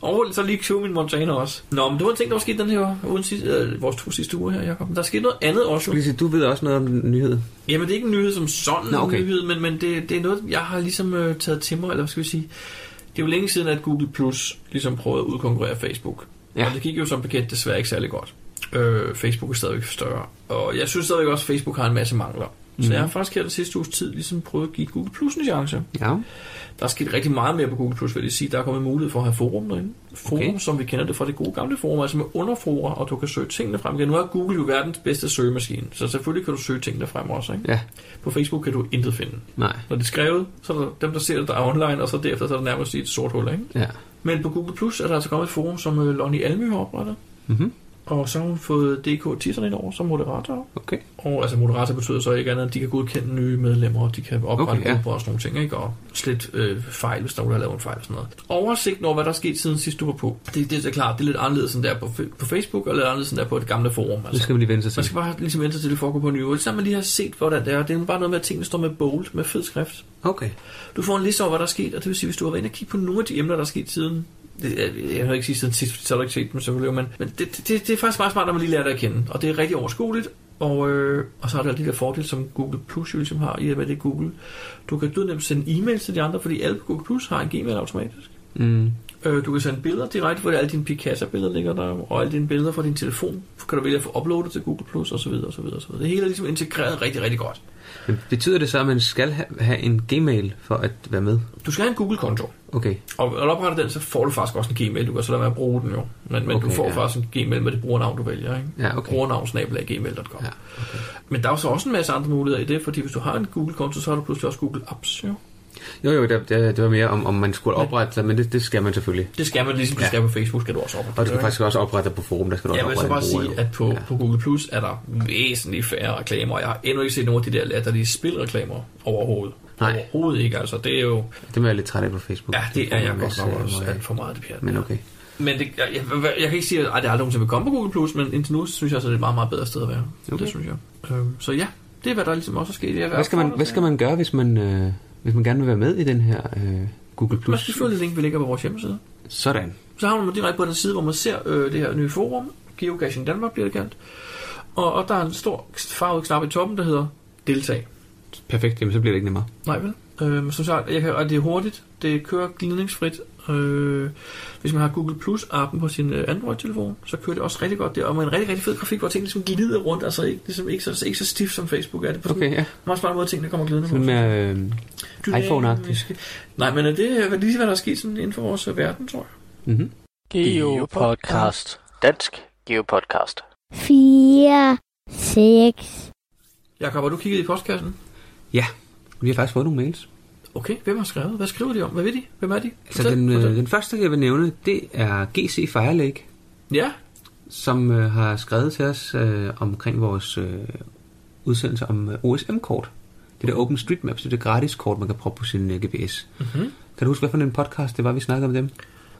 S4: Og så lige købe min Montana også. Nå, men det var en ting, der var sket den her uden sidste, øh, vores to sidste uger her, Jacob. Der skete noget andet også.
S3: Lise, du ved også noget om den nyhed.
S4: Jamen, det er ikke en nyhed som sådan,
S3: Nå,
S4: Nå,
S3: okay.
S4: okay. nyhed, men, men det, det er noget, jeg har ligesom øh, taget til mig, eller hvad skal vi sige. Det er jo længe siden, at Google Plus ligesom prøvede at udkonkurrere Facebook.
S3: Ja.
S4: Ja. Og det gik jo som bekendt desværre ikke særlig godt. Øh, Facebook er stadigvæk større. Og jeg synes stadigvæk også, at Facebook har en masse mangler. Så jeg har faktisk her den sidste uges tid ligesom prøvet at give Google Plus en chance.
S3: Ja.
S4: Der er sket rigtig meget mere på Google Plus, vil jeg sige. Der er kommet mulighed for at have forum derinde. Forum,
S3: Okay.
S4: okay. som vi kender det fra det gode gamle forum, altså med underfora, og du kan søge tingene frem igen. Nu er Google jo verdens bedste søgemaskine, så selvfølgelig kan du søge tingene frem også. Ikke?
S3: Ja.
S4: På Facebook kan du intet finde.
S3: Nej.
S4: Når det er skrevet, så er der dem, der ser det, der er online, og så derefter så er der nærmest et sort hul. Ikke?
S3: Ja.
S4: Men på Google Plus er der altså kommet et forum, som øh, Lonnie Almy har oprettet.
S3: Mhm.
S4: Og så har hun fået DK Tisserne ind over som moderator.
S3: Okay.
S4: Og altså moderator betyder så ikke andet, end de kan godkende nye medlemmer, og de kan oprette
S3: Okay,
S4: okay,
S3: ja.
S4: ja. grupper og sådan nogle ting, ikke? og slet øh, fejl, hvis der er nogen, der har lavet en fejl og sådan noget. Oversigten over, hvad der er sket siden sidst du var på, det, det er så klart, det er lidt anderledes end der på, fe- på Facebook, og lidt anderledes end der på et gamle forum.
S3: Nu
S4: Altså.
S3: skal man lige vende sig til.
S4: Man skal bare ligesom vente sig til, at det foregår på en ny måde. Så man lige har set, hvordan det er. Det er bare noget med, at tingene står med bold, med fed skrift.
S3: Okay.
S4: Du får en liste over, hvad der er sket, og det vil sige, hvis du har været inde og kigge på nogle af de emner, der er sket siden... det- Jeg jeg vil ikke sige siden sidst, fordi så har du ikke set dem selvfølgelig, men, men det, det, det, er faktisk meget smart, at man lige lærer det at kende, og det er rigtig overskueligt. Og, øh, og så er der lige der fordel, som Google Plus jo ligesom har, i og med det er Google. Du kan dødnemt sende e-mails til de andre, fordi alle på Google Plus har en Gmail automatisk.
S3: Mm.
S4: Øh, du kan sende billeder direkte, hvor alle dine Picasso-billeder ligger der, og alle dine billeder fra din telefon kan du vælge at få uploadet til Google Plus, osv. osv., osv. Det hele er ligesom integreret rigtig, rigtig godt.
S3: Men betyder det så, at man skal ha- have en Gmail for at være med?
S4: Du skal have en Google-konto.
S3: Okay.
S4: Og når du opretter den, så får du faktisk også en Gmail. Du kan så lade være at bruge den jo. Men, men okay,
S3: Okay,
S4: du får
S3: ja.
S4: ja. faktisk en Gmail med det brugernavn, du vælger. Ikke?
S3: Ja, okay.
S4: Brugernavn snabel gmail.com.
S3: Ja,
S4: Ja, okay. Men der er jo så også en masse andre muligheder i det, fordi hvis du har en Google-konto, så har du pludselig også Google Apps. Jo.
S3: Jo, jo, det, det, det var mere om, om man skulle oprette sig, men det, det skal man selvfølgelig.
S4: Det skal man ligesom, du
S3: Ja.
S4: skal på Facebook, skal du også oprette.
S3: Og du
S4: det,
S3: kan
S4: ikke?
S3: faktisk også oprette dig på forum, der skal du også
S4: Jeg vil så
S3: oprette
S4: bare
S3: en bruger,
S4: sige,
S3: jo.
S4: at på, ja. på Google Plus er der væsentligt færre reklamer. Jeg har endnu ikke set nogen af de der latterlige spilreklamer overhovedet.
S3: Nej.
S4: Overhovedet ikke, altså. Det er jo...
S3: Det var jeg lidt træt af på Facebook.
S4: Ja, det er
S3: får
S4: jeg
S3: man
S4: godt nok
S3: øh,
S4: også
S3: meget af.
S4: alt for meget, det pjat.
S3: Men okay.
S4: Men det, jeg, jeg, jeg, kan ikke sige, at ej, det er aldrig nogensinde vil komme på Google+, Plus, men indtil nu synes jeg, så det er et meget, meget bedre sted at være.
S3: Okay.
S4: Okay. Det synes jeg. Øhm, så ja, det er, hvad der ligesom også er sket. Jeg
S3: Hvad skal man, hvad skal man gøre, hvis man, øh, hvis man gerne vil være med i den her øh, Google
S4: Man
S3: Plus?
S4: skal følge det link, vi lægger på vores hjemmeside.
S3: Sådan.
S4: Så havner man direkte på den side, hvor man ser øh, det her nye forum. Geocaching Danmark bliver det kaldt. Og, og der er en stor farvet knap i toppen, der hedder Deltag.
S3: Perfekt, jamen så bliver det ikke nemmere.
S4: Nej vel? Øhm, som sagt, jeg kan, og det er hurtigt. Det kører glidningsfrit. Øh, hvis man har Google Plus-appen på sin øh, Android-telefon, så kører det også rigtig godt der. Og med en rigtig, rigtig fed grafik, hvor tingene ligesom glider rundt. Altså ikke, ligesom, ikke, så, ikke så stift som Facebook er det. På sådan
S3: Okay, ja.
S4: en meget smart måde, at tingene kommer glidende.
S3: Sådan
S4: rundt.
S3: mere øh, iPhone-agtigt.
S4: Dynamiske. Nej, men øh, det er lige, hvad der er sket sådan inden for vores øh, verden, tror jeg.
S3: Mm-hmm.
S5: Geopodcast. Dansk Geopodcast.
S6: 4, 6,
S4: Jakob, har du kigget i postkassen?
S3: Ja, vi har faktisk fået nogle mails.
S4: Okay, hvem har skrevet? Hvad skriver de om? Hvad ved de? Hvem er de?
S3: Altså
S4: Fortæl,
S3: den, øh,
S4: fortæl.
S3: den første, jeg vil nævne, det er GC Firelake.
S4: Ja,
S3: som øh, har skrevet til os øh, omkring vores øh, udsendelse om øh, OSM-kort. Det der Open Street Maps, det er det gratis kort, man kan proppe på sin øh, GPS. Mm-hmm. Kan du huske, hvad for en podcast det var, vi snakkede om dem?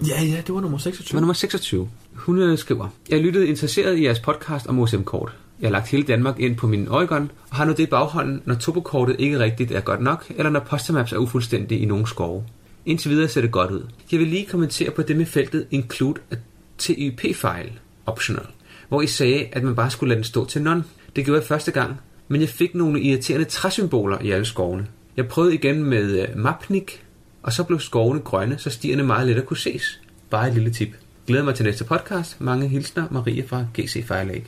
S4: Ja, ja, det var nummer
S3: Det var
S4: 26.
S3: nummer 26. Hun øh, skriver, Jeg lyttede interesseret i jeres podcast om OSM-kort. Jeg har lagt hele Danmark ind på min Oregon, og har nu det i baghånden, når topokortet ikke rigtigt er godt nok, eller når postmaps er ufuldstændig i nogle skove. Indtil videre ser det godt ud. Jeg vil lige kommentere på det med feltet Include a TYP-file optional, hvor I sagde, at man bare skulle lade den stå til none. Det gjorde jeg første gang, men jeg fik nogle irriterende træsymboler i alle skovene. Jeg prøvede igen med øh, Mapnik, og så blev skovene grønne, så stierne meget let at kunne ses. Bare et lille tip. Glæder mig til næste podcast. Mange hilsner, Marie fra GC Fire Lake.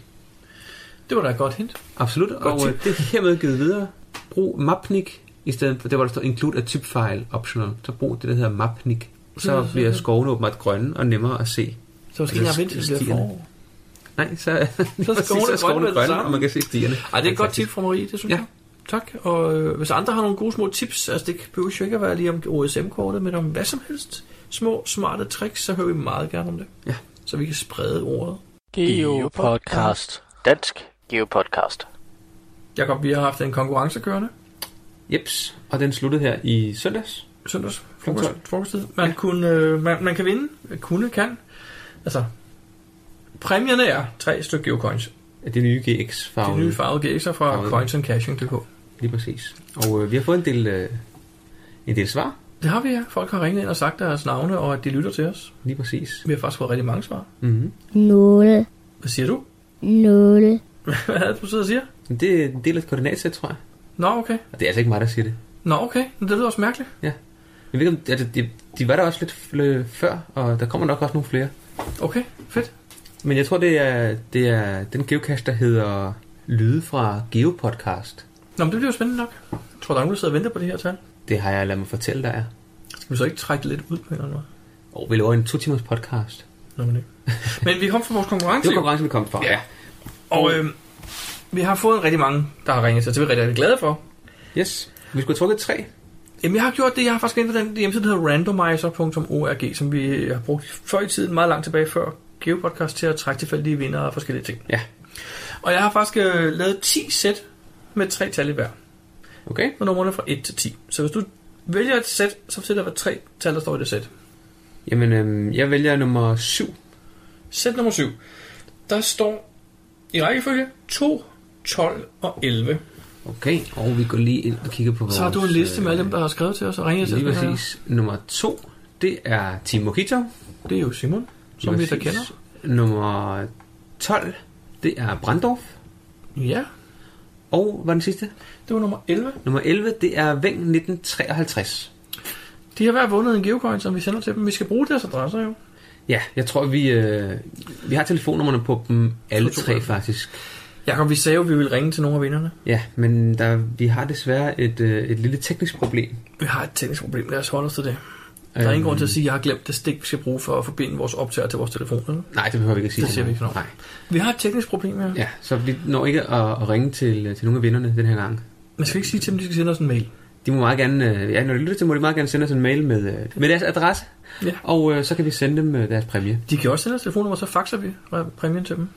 S4: Det var da et godt hint.
S3: Absolut, og
S4: tip.
S3: øh, det er hermed givet videre. Brug Mapnik i stedet for det, hvor der står Include a type file optional. Så brug det, der hedder Mapnik. Så bliver skovene åbenbart grønne og nemmere at se.
S4: Mm. Så skal
S3: Eller
S4: jeg vente til det bliver
S3: stierne.
S4: forår.
S3: Nej, [laughs] så, så,
S4: skovene grønne med det samme.
S3: og man kan se stierne.
S4: Ej, det er et godt tip
S3: Fantastisk.
S4: fra Marie, det synes
S3: Ja.
S4: jeg. Tak, og øh, hvis andre har nogle gode små tips, altså det behøver jo ikke at være lige om OSM-kortet, men om hvad som helst, små smarte tricks, så hører vi meget gerne om det.
S3: Ja.
S4: Så vi kan sprede ordet.
S5: Geopodcast. Dansk Geopodcast.
S4: Jakob, vi har haft en konkurrence kørende
S3: Jeps, og den sluttede her i søndags.
S4: søndags
S3: Klokken
S4: frokost, frokosttid. Man, ja. kunne, øh, man, man kan vinde, kunne, kan. Altså, præmierne er tre stykke geocoins.
S3: Det er nye
S4: De
S3: GX-farve.
S4: nye farvede gæser fra
S3: Farvede.
S4: coinsandcaching.dk.
S3: Lige præcis. Og øh, vi har fået en del, øh, en del svar.
S4: Det har vi, ja. Folk har ringet ind og sagt deres navne, og at de lytter til os.
S3: Lige præcis.
S4: Vi har faktisk fået rigtig mange svar.
S3: Mm-hmm.
S6: 0,
S4: Hvad siger du? [laughs]
S6: 0,
S4: Hvad er det, du sidder og siger?
S3: Det er en del af et koordinatsæt, tror jeg.
S4: Nå, okay.
S3: Og det er altså ikke mig, der siger det.
S4: Nå, okay. Men det lyder også mærkeligt.
S3: Jeg ved ikke, om, altså, de, de var der også lidt f- før, og der kommer nok også nogle flere.
S4: Okay, fedt.
S3: Men jeg tror, det er, det er den geocache, der hedder Lyde fra Geopodcast.
S4: Nå, men det bliver jo spændende nok. Jeg tror, der er nogen, der sidder og venter på det her tal.
S3: Det har jeg ladet mig fortælle dig.
S4: Skal vi så ikke trække det lidt ud på en eller anden måde?
S3: Og vi laver en to timers podcast.
S4: Nå, men, ikke.
S3: [laughs]
S4: men vi kom fra vores konkurrence.
S3: Det var konkurrencen, vi kom fra.
S4: Ja. Og øh, vi har fået rigtig mange, der har ringet til, os, det er vi rigtig, rigtig glade for.
S3: Yes. Vi skulle have trukket tre.
S4: Jamen, jeg har gjort det. Jeg har faktisk været inde på den hjemmeside, der hedder randomizer.org, som vi øh, har brugt før i tiden, meget langt tilbage før Geopodcast, til at trække tilfældige vinder og forskellige ting.
S3: Ja.
S4: Og jeg har faktisk øh, lavet 10 sæt med tre tal i hver,
S3: Okay.
S4: med numrene fra 1 til 10. Så hvis du vælger et sæt, så fortæller der, hvad tre tal, der står i det sæt.
S3: Jamen, øhm, jeg vælger nummer syv.
S4: Sæt nummer 7. Der står i rækkefølge 2, 12 og 11.
S3: Okay. Og vi går lige ind og kigger på vores...
S4: Så har du en liste med alle dem, der har skrevet til os og ringet til os.
S3: Lige
S4: med det her.
S3: præcis. Nummer to, det er Team Mojito.
S4: Det er jo Simon, som vi
S3: Præcis.
S4: der kender.
S3: Nummer 12, det er Brandorf.
S4: Ja,
S3: Og hvad er den sidste?
S4: det var nummer 11.
S3: Nummer 11, det er Veng 1953.
S4: De har hver vundet en geocoin, som vi sender til dem. Vi skal bruge deres adresser jo.
S3: Ja, jeg tror, vi, øh, vi har telefonnummerne på dem alle
S4: To, to,
S3: tre
S4: ja.
S3: faktisk.
S4: Jakob, vi sagde jo, at vi ville ringe til nogle af vinderne.
S3: Ja, men der, vi har desværre et, øh, et lille teknisk problem.
S4: Vi har et teknisk problem, lad os holde os til det. Der er ingen grund til at sige, at jeg har glemt det stik, vi skal bruge for at forbinde vores optager til vores telefon. Eller?
S3: Nej, det behøver vi ikke at sige.
S4: Det siger vi ikke noget om.
S3: Nej.
S4: Vi har et teknisk problem, ja.
S3: Ja, så vi når ikke at, at ringe til, til nogle af vinderne den her gang.
S4: Men skal vi ikke sige til dem, at de skal sende os en mail?
S3: De må meget gerne, øh, ja, når de lytter til, må de meget gerne sende os en mail med, øh, med deres adresse,
S4: Ja.
S3: og øh, så kan vi sende dem øh, deres præmie.
S4: De kan også sende os telefonnummer, så faxer vi præmien til dem.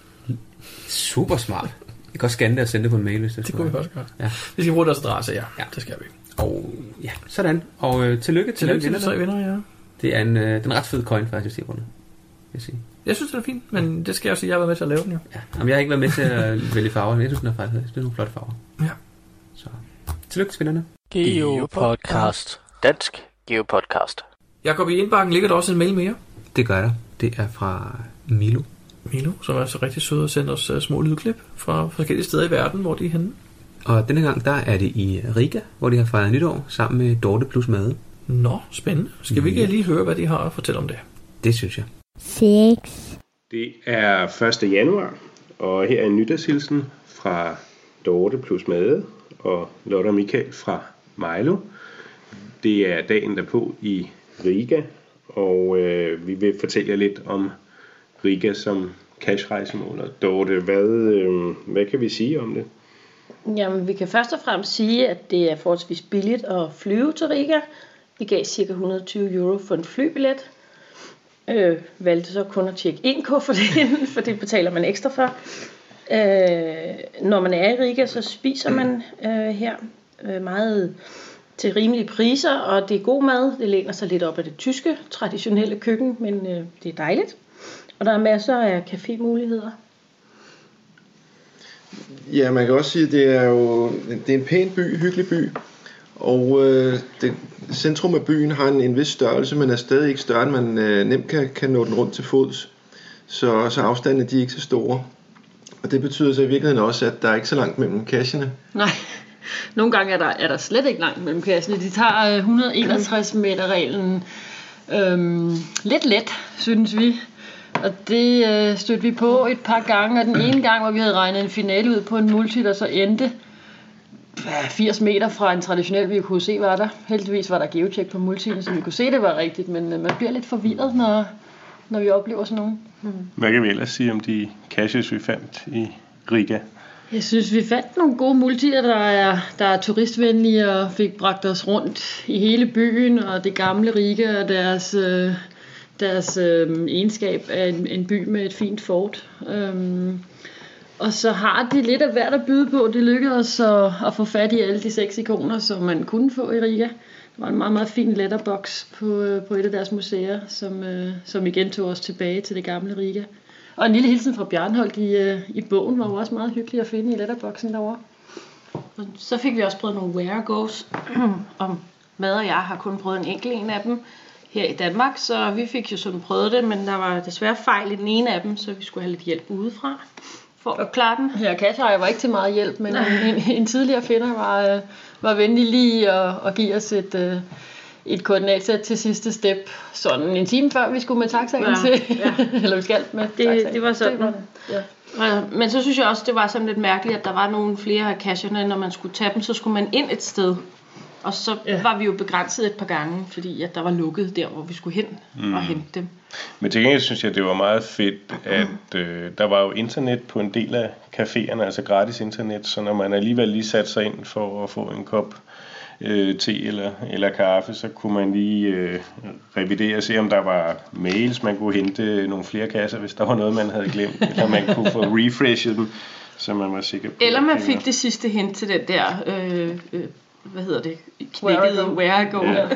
S3: Super smart. Jeg kan også scanne det og sende det på en mail, hvis det,
S4: Det
S3: skulle
S4: kunne vi
S3: være.
S4: også gøre.
S3: Ja.
S4: Vi skal bruge deres adresse, ja.
S3: Ja.
S4: Det skal vi.
S3: Og ja, sådan. Og øh, tillykke til
S4: Tillykke
S3: alle
S4: til de
S3: vinder.
S4: tre
S3: der.
S4: vinder, ja.
S3: Det er en, øh, den ret fed coin, faktisk, jeg rundet. Vil jeg sige.
S4: Jeg synes, det er fint, men det skal jeg også sige, at jeg har været med til at lave den jo.
S3: Ja. Jamen, jeg har ikke været med til
S4: [laughs]
S3: at vælge farver, men jeg synes, den er faktisk det er nogle flotte farver.
S4: Ja.
S3: Så tillykke til vinderne.
S5: Geopodcast. Dansk Geopodcast.
S4: Jakob, i indbakken ligger der også en mail mere.
S3: Det gør der. Det er fra Milo.
S4: Milo, som er så rigtig sød og sender os øh, små lydklip fra forskellige steder i verden, hvor de er henne.
S3: Og denne gang, der er det i Riga, hvor de har fejret nytår sammen med Dorte plus Made.
S4: Nå, spændende. Skal vi ikke lige høre, hvad de har at fortælle om det?
S3: Det synes jeg.
S6: 6,
S7: Det er 1. januar, og her er en nytårshilsen fra Dorte plus Made og Lotte og Michael fra Milo. Det er dagen derpå i Riga, og øh, vi vil fortælle jer lidt om Riga som cashrejsemål. Og Dorte, hvad, øh, hvad kan vi sige om det?
S8: Jamen, vi kan først og fremmest sige, at det er forholdsvis billigt at flyve til Riga. Vi gav ca. 120 euro for en flybillet. Øh, valgte så kun at tjekke en kuffert ind, for det betaler man ekstra for. Øh, når man er i Riga, så spiser man øh, her øh, meget til rimelige priser, og det er god mad. Det læner sig lidt op af det tyske traditionelle køkken, men øh, det er dejligt. Og der er masser af cafémuligheder.
S9: Ja, man kan også sige, at det er jo det er en pæn by, hyggelig by. Og øh, det, centrum af byen har en, en vis størrelse, men er stadig ikke større, end man øh, nemt kan, kan nå den rundt til fods. Så, så afstandene de er ikke så store. Og det betyder så i virkeligheden også, at der er ikke så langt mellem kasserne.
S8: Nej, nogle gange er der, er der slet ikke langt mellem kasserne. De tager øh, 161 meter reglen øhm, lidt let, synes vi. Og det øh, stødte vi på et par gange, og den ene gang, hvor vi havde regnet en finale ud på en multi, der så endte ja, 80 meter fra en traditionel, vi kunne se, var der. Heldigvis var der geotjek på multien, så vi kunne se, det var rigtigt, men øh, man bliver lidt forvirret, når, når vi oplever sådan nogle.
S7: Hvad kan vi ellers sige om de caches, vi fandt i Riga?
S8: Jeg synes, vi fandt nogle gode multier, der er, der er turistvenlige og fik bragt os rundt i hele byen og det gamle Riga og deres, øh, deres øh, egenskab af en, en by med et fint fort. Øhm, og så har de lidt af hvert at byde på. Det lykkedes os at, at få fat i alle de seks ikoner, som man kunne få i Riga. Der var en meget, meget fin letterbox på, øh, på et af deres museer, som, øh, som igen tog os tilbage til det gamle Riga. Og en lille hilsen fra Bjarnholdt i, øh, i bogen var jo også meget hyggelig at finde i letterboxen derovre. Og så fik vi også prøvet nogle where goes [clears throat] om mad, og jeg har kun prøvet en enkelt en af dem her i Danmark, så vi fik jo sådan prøvet det, men der var desværre fejl i den ene af dem, så vi skulle have lidt hjælp udefra for at klare den. Ja, Katja var ikke til meget hjælp, men en, en tidligere finder var, øh, var venlig lige at, at give os et, øh, et koordinatsæt til sidste step, sådan en time før vi skulle med taxaen ja, til, ja. [laughs] eller vi skal med det, det var sådan. Ja. Øh, Men så synes jeg også, det var sådan lidt mærkeligt, at der var nogle flere af casherne, når man skulle tage dem, så skulle man ind et sted. Og så ja. var vi jo begrænset et par gange, fordi at der var lukket der, hvor vi skulle hen mm. og hente dem.
S7: Men til gengæld synes jeg, det var meget fedt,
S10: Mm.
S7: at øh, der var jo internet på en del af caféerne, altså gratis internet, så når man alligevel lige satte sig ind for at få en kop øh, te eller, eller kaffe, så kunne man lige øh, revidere og se, om der var mails, man kunne hente nogle flere kasser, hvis der var noget, man havde glemt, eller man kunne få
S10: [laughs]
S7: refreshet dem, så man var sikker på.
S10: Eller man
S7: at det var-
S10: fik det sidste hint til den der, øh, øh, hvad hedder det, knækkede where I go.
S7: Ja, ja.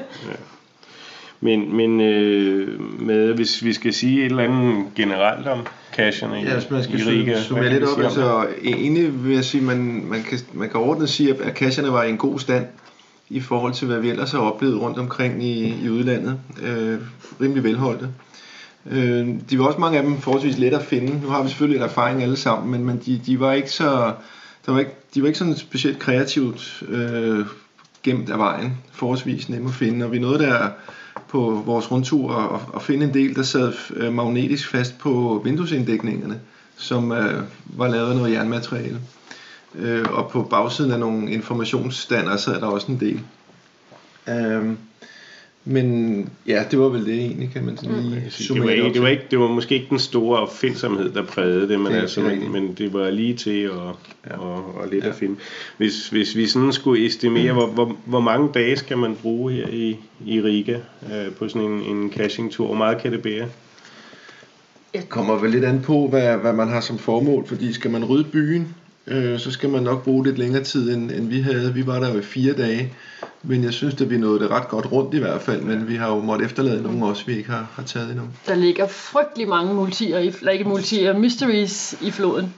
S7: Men, men øh, med, hvis vi skal sige et eller andet generelt om casherne i,
S9: Ja, hvis man
S7: i
S9: skal
S7: Riga,
S9: su-
S7: hvad
S9: summere
S7: kan
S9: lidt
S7: vi
S9: op,
S7: sige om det?
S9: altså egentlig vil jeg sige, man, man, kan, man kan ordentligt sige, at- at kasserne var i en god stand i forhold til, hvad vi ellers har oplevet rundt omkring i, i udlandet. Øh, rimelig velholdte. Øh, de var også mange af dem forholdsvis let at finde. Nu har vi selvfølgelig en erfaring alle sammen, men, men de, de var ikke så... Der var ikke, de var ikke sådan specielt kreativt øh, gemt af vejen, forholdsvis nemme at finde. Og vi nåede der på vores rundtur og, og finde en del, der sad øh, magnetisk fast på vinduesinddækningerne, som øh, var lavet af noget jernmateriale. Øh, og på bagsiden af nogle informationsstander sad der også en del. Øh, men ja, det var vel det egentlig, kan man sådan lige
S7: Altså, det var,
S9: summere
S7: ikke,
S9: op
S7: det, var
S9: til.
S7: ikke, det var måske ikke den store opfindsomhed, der prægede det, men,
S9: Det
S7: det
S9: er
S7: altså,
S9: rigtigt.
S7: men, men det var lige til og,
S9: Ja.
S7: ja. og, og lidt
S9: Ja. Mm.
S7: ja. at finde. Hvis, hvis vi sådan skulle estimere, hvor, hvor, hvor mange dage skal man bruge her i, i Riga øh, på sådan en, en caching-tur? Hvor meget kan det bære?
S9: kommer vel lidt an på, hvad, hvad man har som formål, fordi skal man rydde byen, øh, så skal man nok bruge lidt længere tid, end, end vi havde. Vi var der jo i fire dage, men jeg synes, at vi nåede det ret godt rundt i hvert fald, men vi har jo måttet efterlade nogle også, vi ikke har, har taget endnu.
S2: Der ligger frygtelig mange multier, i, eller ikke multier, mysteries i floden.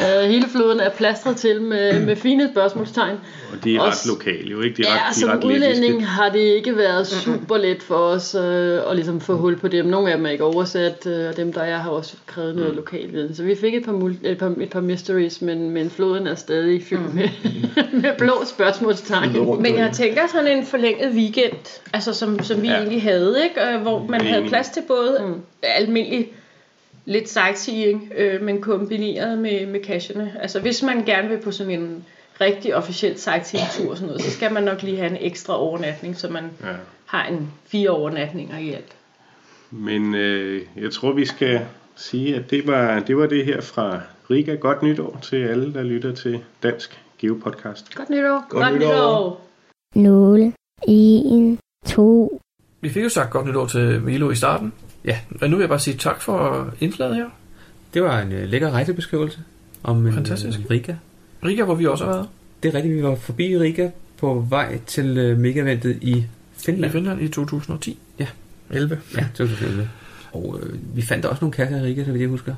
S2: Ja. hele floden er plastret til med, med fine spørgsmålstegn.
S7: Og de er
S2: Også-
S7: ret lokale, jo ikke? De er
S2: Ja,
S7: ret,
S9: altså,
S7: de er
S2: som
S7: ret lettiske.
S2: udlænding har det ikke været super let for os øh, at ligesom få hul på dem. Nogle af dem er ikke oversat, øh, og dem der er har også krævet
S7: Mm.
S2: noget lokal viden. Så vi fik et par, mul- et par, et par mysteries, men, men floden er stadig fyldt med, [laughs] med blå spørgsmålstegn.
S9: Noget rundt
S10: Mm. Men
S9: derude.
S10: jeg tænker sådan en forlænget weekend, altså som, som vi
S7: Ja.
S10: ja. egentlig havde, ikke? Øh, hvor man havde
S7: Enig.
S10: plads til både mm. almindelig lidt sightseeing, øh, men kombineret med, med casherne. Altså hvis man gerne vil på sådan en rigtig officiel sightseeing-tur og sådan noget, så skal man nok lige have en ekstra overnatning, så man
S7: Ja.
S10: har en fire overnatninger i alt.
S7: Men øh, jeg tror, vi skal sige, at det var det, var det her fra Riga. Godt nytår til alle, der lytter til Dansk Geopodcast.
S2: Godt nytår.
S9: Godt nytår.
S6: Nogle. En. To.
S4: Vi fik jo sagt godt nytår til Milo i starten.
S3: Ja.
S4: Og nu vil jeg bare sige tak for indslaget her.
S3: Det var en øh, lækker rejsebeskrivelse om en,
S4: Fantastisk.
S3: øh, Riga.
S4: Riga, hvor vi også har været.
S3: Det er rigtigt, vi var forbi Riga på vej til øh, megavæltet i Finland.
S4: I Finland i 2010.
S3: Ja.
S4: 11.
S3: Ja, 2011. Og øh, vi fandt også nogle kasser i Riga, så vidt jeg husker.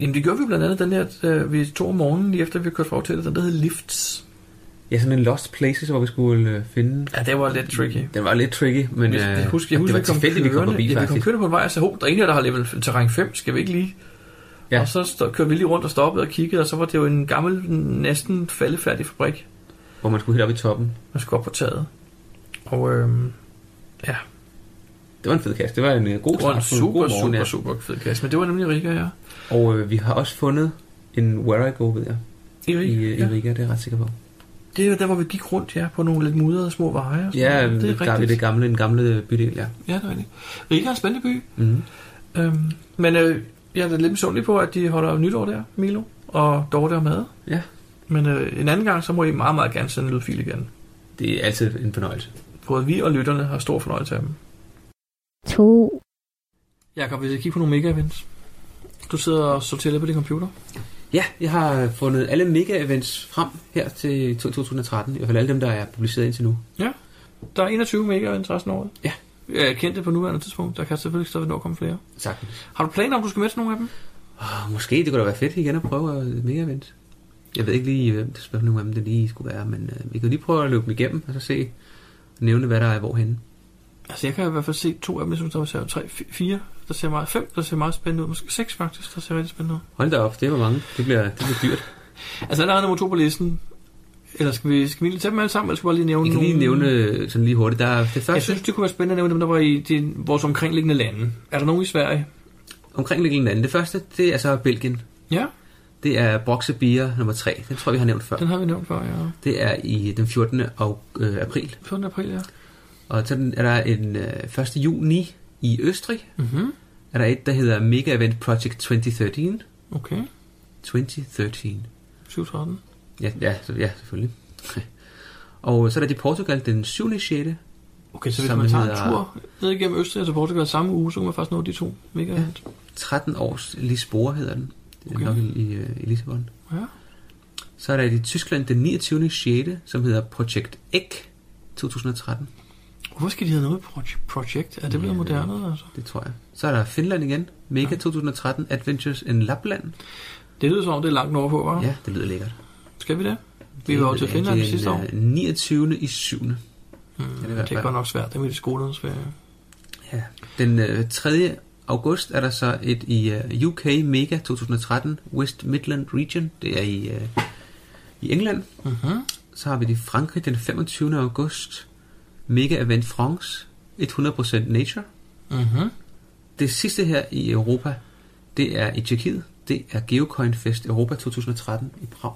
S4: Jamen det gjorde vi blandt andet den her, at øh, vi tog om morgenen, lige efter vi kørte fra hotellet, den der hed Lifts.
S3: Ja, sådan en Lost Places, hvor vi skulle øh, finde...
S4: Ja, det var lidt tricky.
S3: Den var lidt tricky, men øh,
S4: Men, jeg, jeg husker, jeg
S3: det
S4: husker,
S3: var tilfældigt, vi kom forbi,
S4: ja, vi kom
S3: faktisk.
S4: kørende på en vej, og så hov, der er en her, der har level terræn 5, skal vi ikke lige?
S3: Ja.
S4: Ja. Og så stå, kørte vi lige rundt og stoppede og kiggede, og så var det jo en gammel, næsten faldefærdig fabrik.
S3: Hvor man skulle helt op i toppen.
S4: Man skulle op på taget. Og øhm, ja,
S3: Det var en fed kasse. Det var en øh, god
S4: det var en
S3: start på en god
S4: super,
S3: morgen,
S4: super,
S3: ja.
S4: super fed kasse. Men det var nemlig Riga, ja.
S3: Og øh, vi har også fundet en Where I Go, ved jeg.
S4: I Riga,
S3: I, øh,
S4: ja.
S3: i Riga, det er jeg ret sikker på.
S4: Det er der, hvor vi gik rundt, ja, på nogle lidt mudrede små veje. og sådan
S3: Ja,
S4: noget.
S3: det er der, ved det gamle, den gamle øh, bydel, ja.
S4: Ja, det er rigtigt. Riga er en spændende by.
S3: Mm.
S4: Øhm, men øh, jeg er da lidt misundelig på, at de holder nytår der, Milo, og Dorte og Mad.
S3: Ja.
S4: Men øh, en anden gang, så må I meget, meget gerne sende en lydfil igen.
S3: Det er altid en fornøjelse.
S4: Både vi og lytterne har stor fornøjelse af dem.
S6: 2,
S4: Jakob, hvis jeg kigger på nogle mega-events. Du sidder og sorterer lidt på din computer.
S3: Ja, jeg har fundet alle mega-events frem her til 2013. I hvert fald alle dem, der er publiceret indtil nu.
S4: Ja. Der er 21 mega-events resten af året.
S3: Ja.
S4: Jeg er kendt det på nuværende tidspunkt. Der kan selvfølgelig stadig nå at komme flere.
S3: Sagtens.
S4: Har du planer om, du skal med til nogle af dem?
S3: Oh, måske det kunne da være fedt igen at prøve øh, et mega-event. Jeg ved ikke lige, hvem det spørgsmål hvem det lige skulle være, men øh, vi kan lige prøve at løbe dem igennem og så se, nævne hvad der er hvorhenne.
S4: Altså, jeg kan i hvert fald se to af dem, jeg synes, der ser tre, fi- fire, der ser meget, fem, der ser meget spændende ud, måske seks faktisk, der ser rigtig spændende ud.
S3: Hold da op, det var mange. Det bliver, det bliver dyrt.
S4: Altså, der er nummer to på listen. Eller skal vi, skal vi lige tage dem alle sammen, eller skal vi bare lige nævne
S3: Jeg kan lige
S4: nogle-
S3: nævne øh, sådan lige hurtigt. Der er det
S4: Jeg
S3: første
S4: synes, det kunne være spændende at nævne dem, der var i de, vores omkringliggende lande. Er der nogen i Sverige?
S3: omkringliggende lande. Det første, det er så Belgien.
S4: Ja,
S3: Det er Broxe Beer nummer 3. Den tror jeg, vi har nævnt før.
S4: den har vi nævnt før, ja.
S3: Det er i den 14. Og, øh, april.
S4: 14. april, ja.
S3: Og så er den- er der en øh, 1. juni i Østrig.
S4: Mhm.
S3: Er der et, der hedder Mega Event Project 2013.
S4: Okay,
S3: 2013.
S4: 7.13.
S3: Ja, ja, så- ja selvfølgelig. [laughs] og så er der det i Portugal den 7. og 6.
S4: Okay, så hvis
S3: Som
S4: man tager
S3: hedder-
S4: en tur ned igennem Østrig og til Portugal samme uge, så kan man faktisk nå de to. Mega ja.
S3: 13 års Lisboa hedder den. Det er
S4: Okay.
S3: nok i, i, øh, i Lissabon.
S4: ja.
S3: Så er der et i Tyskland den 29. 6. som hedder Project Egg 2013.
S4: Hvorfor skal de have noget med proj- projekt? Er det blevet moderne, altså?
S3: Det tror jeg. Så er der Finland igen. Mega 2013 Adventures in Lapland.
S4: Det lyder som om, det er langt overpå, hva'?
S3: Ja, det lyder lækkert.
S4: Skal vi det? Vi var jo til Finland
S3: det er
S4: sidste
S3: en,
S4: år.
S3: øh, 29. i 7. Mm,
S4: Ja, det, det er godt nok svært, det er midt i skolernes ferie.
S3: Ja. Den øh, 3. august er der så et i øh, UK Mega 2013 West Midland Region. Det er i, øh, i England.
S4: Mhm.
S3: Så har vi det i Frankrig den 25. august. Mega Event France. 100% Nature.
S4: Mhm.
S3: Det sidste her i Europa, det er i Tjekkiet. Det er Geocoin Fest Europa 2013 i Prag.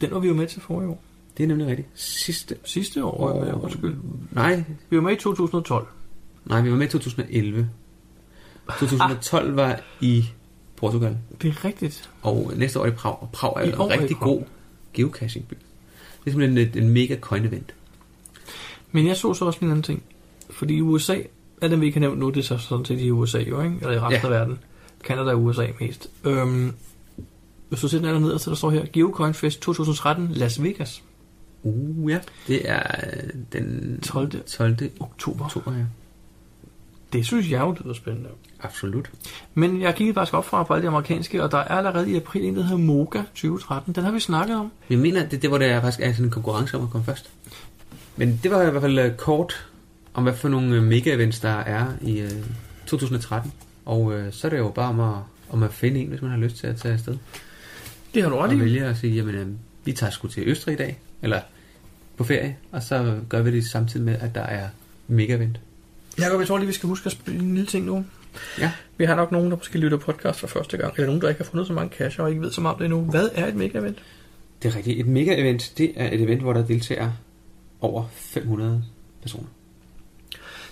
S4: Den var vi jo med til forrige år.
S3: Det er nemlig rigtigt. Sidste
S4: Sidste år var vi med, undskyld.
S3: Nej,
S4: Vi var med i 2012.
S3: nej, vi var med i 2011. 2012 var i Portugal,
S4: Det er rigtigt.
S3: og næste år i Prag. Og Prag er
S4: I
S3: en
S4: år er i
S3: rigtig
S4: Prag.
S3: god geocachingby. Det er simpelthen et, en mega coin event.
S4: Men jeg så så også en anden ting. Fordi i USA, er den vi ikke har nævnt nu, det er så sådan set i USA jo, ikke? Eller i resten
S3: Ja.
S4: ja. af verden. Canada og USA mest. Øhm, hvis du ser den aller nederst, der står her, Geocoin Fest 2013 Las Vegas,
S3: Uh, ja. Det er øh, den
S4: 12.
S3: 12.
S4: oktober.
S3: oktober, ja.
S4: Det synes jeg jo, det er spændende.
S3: Absolut.
S4: Men jeg kiggede faktisk op fra på alle de amerikanske, og der er allerede i april en, der hedder Moga 2013. Den har vi snakket om.
S3: Jeg mener, det er det, hvor der faktisk er sådan en konkurrence om at komme først. Men det var i hvert fald øh, kort om, hvad for nogle øh, mega-events, der er i øh, 2013. Og øh, så er det jo bare om at, om at finde en, hvis man har lyst til at tage afsted.
S4: Det har du
S3: og vælger at sige, jamen øh, vi tager sgu til Østrig i dag, eller på ferie, og så gør vi det samtidig med, at der er mega event.
S4: Jakob, jeg tror lige, vi skal huske at spille en lille ting nu.
S3: Ja.
S4: Vi har nok nogen, der måske lytter podcast for første gang, eller nogen, der ikke har fundet så mange cash og ikke ved så meget om det endnu. Hvad er et mega event?
S3: Det er rigtigt. Et mega event, det er et event, hvor der deltager over 500 personer.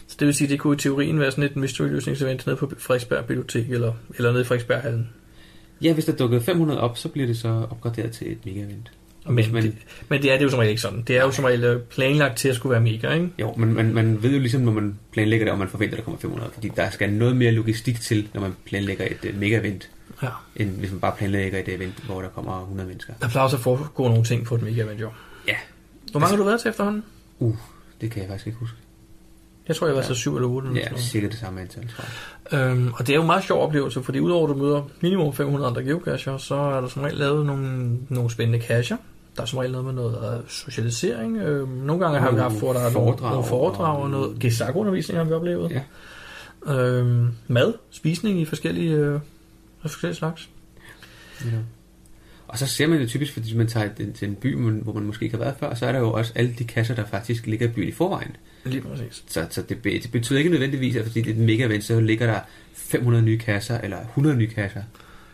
S4: Så det vil sige, det kunne i teorien være sådan et mystery løsnings event nede på Frederiksberg Bibliotek, eller, eller nede i Frederiksberghallen.
S3: Ja, hvis der dukkede 500 op, så bliver det så opgraderet til et mega event.
S4: Men,
S3: Hvis
S4: men,
S3: man-
S4: det, men det er det jo som regel ikke sådan. Det er jo som regel øh, planlagt til at skulle være mega, ikke?
S3: Jo, men man, man ved jo ligesom, når man planlægger det, og man forventer, at der kommer 500, fordi der skal noget mere logistik til, når man planlægger et øh, mega event,
S4: Ja.
S3: end hvis man bare planlægger et event, hvor der kommer 100 mennesker.
S4: Der plejer også at foregå nogle ting på et mega event, jo.
S3: Ja,
S4: Hvor mange har du været til efterhånden?
S3: Uh, det kan jeg faktisk ikke huske.
S4: Jeg tror, jeg var ja. så syv eller otte. eller
S3: Ja,
S4: sådan noget.
S3: cirka det samme antal, tror jeg.
S4: Øhm, og det er jo en meget sjov oplevelse, fordi udover at du møder minimum 500 andre geocacher, så er der som regel lavet nogle, nogle spændende cacher. Der er som regel noget med noget øh, socialisering. Øhm, nogle gange har vi haft for, der er nogle,
S3: Foredrag
S4: nogle foredrag og
S3: og-
S4: noget gesakundervisning har vi oplevet. Ja. Øhm, mad, spisning i forskellige, øh, af forskellige slags.
S3: Ja. Og så ser man det typisk, fordi man tager til, til en by, man- hvor man måske ikke har været før, så er der jo også alle de kasser, der faktisk ligger i byen i forvejen.
S4: Lige præcis.
S3: Så, så det, be- det betyder ikke nødvendigvis, at fordi det er et mega event, så ligger der 500 nye kasser eller 100 nye kasser.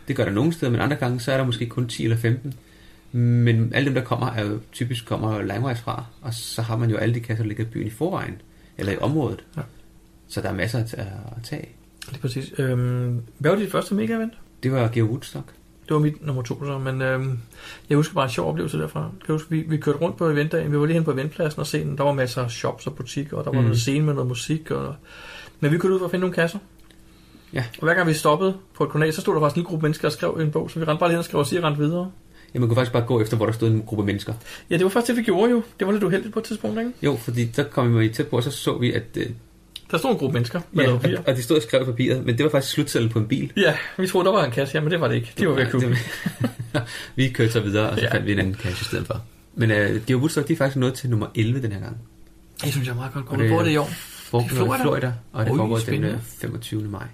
S3: Det gør der nogle steder, men andre gange, så er der måske kun 10 eller 15. Men alle dem, der kommer, er jo typisk kommer langvejs fra, og så har man jo alle de kasser, der ligger i byen i forvejen, eller i området.
S4: Ja.
S3: Så der er masser at, at tage.
S4: Lige præcis. Øhm, hvad var dit første mega-event?
S3: Det var Geo Woodstock.
S4: Det var mit nummer to så, men øhm, jeg husker bare en sjov oplevelse derfra. Kan jeg huske, vi, vi kørte rundt på eventdagen, vi var lige hen på eventpladsen og se, den. der var masser af shops og butikker, og der var
S3: Mm.
S4: mm. noget scene med noget musik. Og, men vi kørte ud for at finde nogle kasser.
S3: Ja.
S4: Og hver gang vi stoppede på et kornat, så stod der faktisk en lille gruppe mennesker og skrev en bog, så vi rendte bare lige hen og skrev os i og rendte videre.
S3: Ja, man kunne faktisk bare gå efter, hvor der stod en gruppe mennesker.
S4: Ja, det var faktisk det, vi gjorde jo. Det var lidt uheldigt på et tidspunkt, ikke?
S3: Jo, fordi så kom vi tæt på, og så så vi, at øh,
S4: Der stod en gruppe mennesker med
S3: Ja,
S4: noget papir.
S3: og- og de stod og skrev i papiret, men det var faktisk slutsedlen på en bil.
S4: Ja, vi troede, der var en kasse her, men det var det ikke. De var ved at købe. [laughs]
S3: Vi kørte så videre, og så ja.
S4: Ja.
S3: fandt vi en anden kasse i stedet for. Men uh, Geo Woodstock, de er faktisk nået til nummer 11 den her gang.
S4: Det synes jeg er meget godt. Kunne du det i år?
S3: Foregår
S4: Det er
S3: i
S4: Florida.
S3: Florida, og det
S4: Ui,
S3: foregår den
S4: spændende.
S3: øh, 25. maj.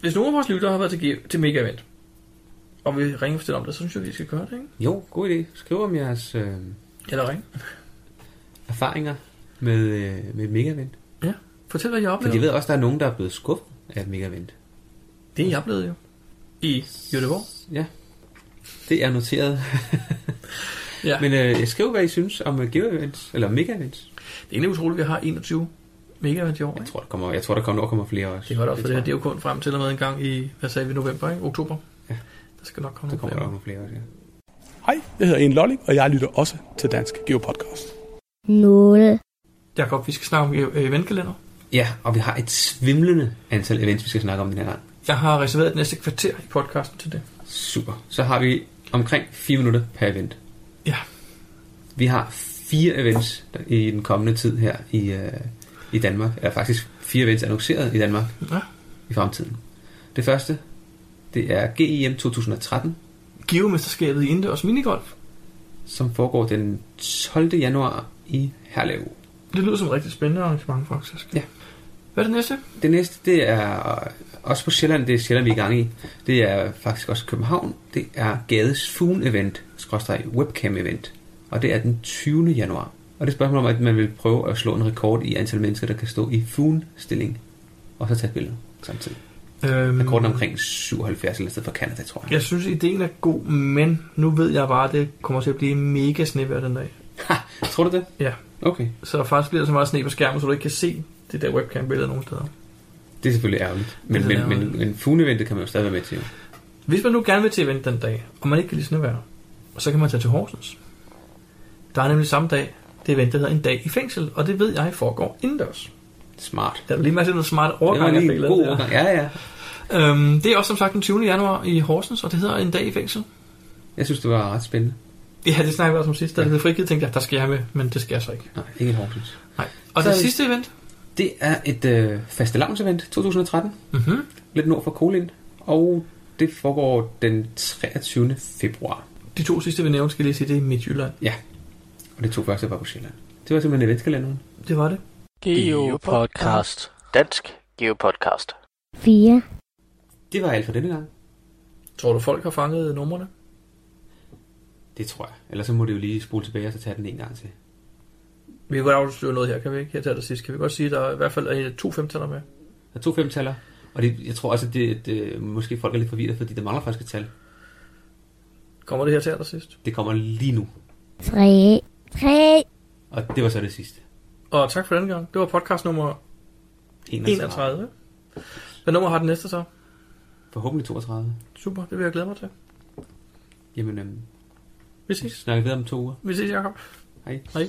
S4: Hvis nogen af vores lyttere har været til, G- til Mega Event, og vi ringer og fortæller om det, så synes jeg, vi skal gøre det, ikke?
S3: Jo, god idé. Skriv om jeres øh,
S4: Eller ringe.
S3: erfaringer med, øh, med Megavent.
S4: Fortæl, hvad jeg
S3: Fordi
S4: oplevede.
S3: jeg ved også, der er nogen, der er blevet skuffet af Megavent.
S4: Det er jeg oplevede jo. I Göteborg.
S3: Ja, det er noteret. [laughs]
S4: Ja. Men
S3: Men øh, skriv, hvad I synes om øh, Geoevents, eller Megavents.
S4: det er egentlig utroligt, at vi har 21 mega event i år.
S3: Jeg
S4: Ikke?
S3: tror, der kommer, jeg tror, der kommer, nok kommer flere også.
S4: Det er godt også, for det
S3: tror
S4: her det er jo kun frem til og med en gang i, hvad sagde vi, november, ikke? Oktober. Ja. Der skal nok
S3: jeg.
S4: komme
S3: Der
S4: nogle
S3: kommer nok
S4: flere.
S3: nogle flere også, ja.
S11: Hej, jeg hedder En Lollik, og jeg lytter også til Dansk Geopodcast.
S6: 0,
S4: Jakob, vi skal snakke om øh, eventkalender.
S3: Ja, og vi har et svimlende antal events, vi skal snakke om den her gang.
S4: Jeg har reserveret det næste kvarter i podcasten til det.
S3: Super. Så har vi omkring 4 minutter per event.
S4: Ja.
S3: Vi har fire events i den kommende tid her i, øh, i Danmark. Eller faktisk fire events annonceret i Danmark
S4: Ja.
S3: i fremtiden. Det første, det er GIM 2013,
S4: Geomesterskabet i indendørs minigolf.
S3: som foregår den 12. januar i Herlev.
S4: Det lyder som et rigtig spændende arrangement, faktisk.
S3: Ja.
S4: Hvad er det næste?
S3: Det næste, det er øh, også på Sjælland, det er Sjælland, vi er i gang i. Det er faktisk også København. Det er Gades Fugn Event, skråstreg webcam event. Og det er den 20. januar. Og det er et spørgsmål om, at man vil prøve at slå en rekord i antal mennesker, der kan stå i Fugn-stilling. Og så tage et billede samtidig.
S4: Øhm,
S3: Rekorden er omkring 77 eller et sted fra Canada, tror jeg.
S4: Jeg synes, ideen er god, men nu ved jeg bare, at det kommer til at blive mega snevejr den dag.
S3: Ha, [laughs] tror du det?
S4: Ja.
S3: Okay.
S4: Så faktisk bliver der så meget sne på skærmen, så du ikke kan se det der webcam-billede nogen steder.
S3: Det er selvfølgelig ærgerligt. Men,
S4: Det er
S3: men,
S4: ærgerligt.
S3: men, men Fugn-eventet kan man jo stadig være med til. jo.
S4: Hvis man nu gerne vil til event den dag, og man ikke kan lide snevejr, så kan man tage til Horsens. Der er nemlig samme dag, det event, der hedder en dag i fængsel, og det ved jeg foregår indendørs.
S3: Smart.
S4: Der er lige masser af noget smart
S3: Det var
S4: overgang, jeg
S3: lige
S4: fik
S3: en
S4: lavet
S3: god
S4: der.
S3: overgang. Ja, ja.
S4: Øhm, det er også som sagt den 20. januar i Horsens, og det hedder en dag i fængsel.
S3: Jeg synes, det var ret spændende.
S4: Ja, det snakker vi også om sidst, da det blev frigivet, tænkte jeg, der skal jeg med, men det skal jeg så ikke.
S3: Nej, ikke en Horsens.
S4: Nej. Og
S3: Så
S4: det
S3: er vi-
S4: sidste event,
S3: Det er et øh, fastelavnsevent 2013,
S4: mm-hmm.
S3: lidt nord for Kolind, og det foregår den 23. februar.
S4: de to sidste vi nævnte, skal jeg lige sige, det er Midtjylland.
S3: Ja, og det to første var på Sjælland. Det var simpelthen eventkalenderen.
S4: Det var det.
S5: Geo Podcast. Dansk Geo Podcast.
S6: 4,
S3: Det var alt for denne gang.
S4: Tror du, folk har fanget numrene?
S3: Det tror jeg. Ellers så må det jo lige spole tilbage og så tage den en gang til.
S4: Vi kan godt afsløre noget her, kan vi ikke? Her til allersidst. Kan vi godt sige, at der er i hvert fald er to femtaller med?
S3: Der er to femtaller, og det, jeg tror også, at det, det, måske folk er lidt forvirret, fordi der mangler faktisk et tal.
S4: Kommer det her til allersidst?
S3: Det kommer lige nu,
S6: 3, 3,
S3: og det var så det sidste.
S4: Og tak for denne gang. Det var podcast nummer 31. Hvad nummer har den næste så?
S3: Forhåbentlig 32.
S4: Super, det vil jeg glæde mig til.
S3: Jamen, øhm,
S4: Vi
S3: vi
S4: ses.
S3: snakker videre om to uger.
S4: Vi ses, Jacob.
S3: Hej.
S4: Hej.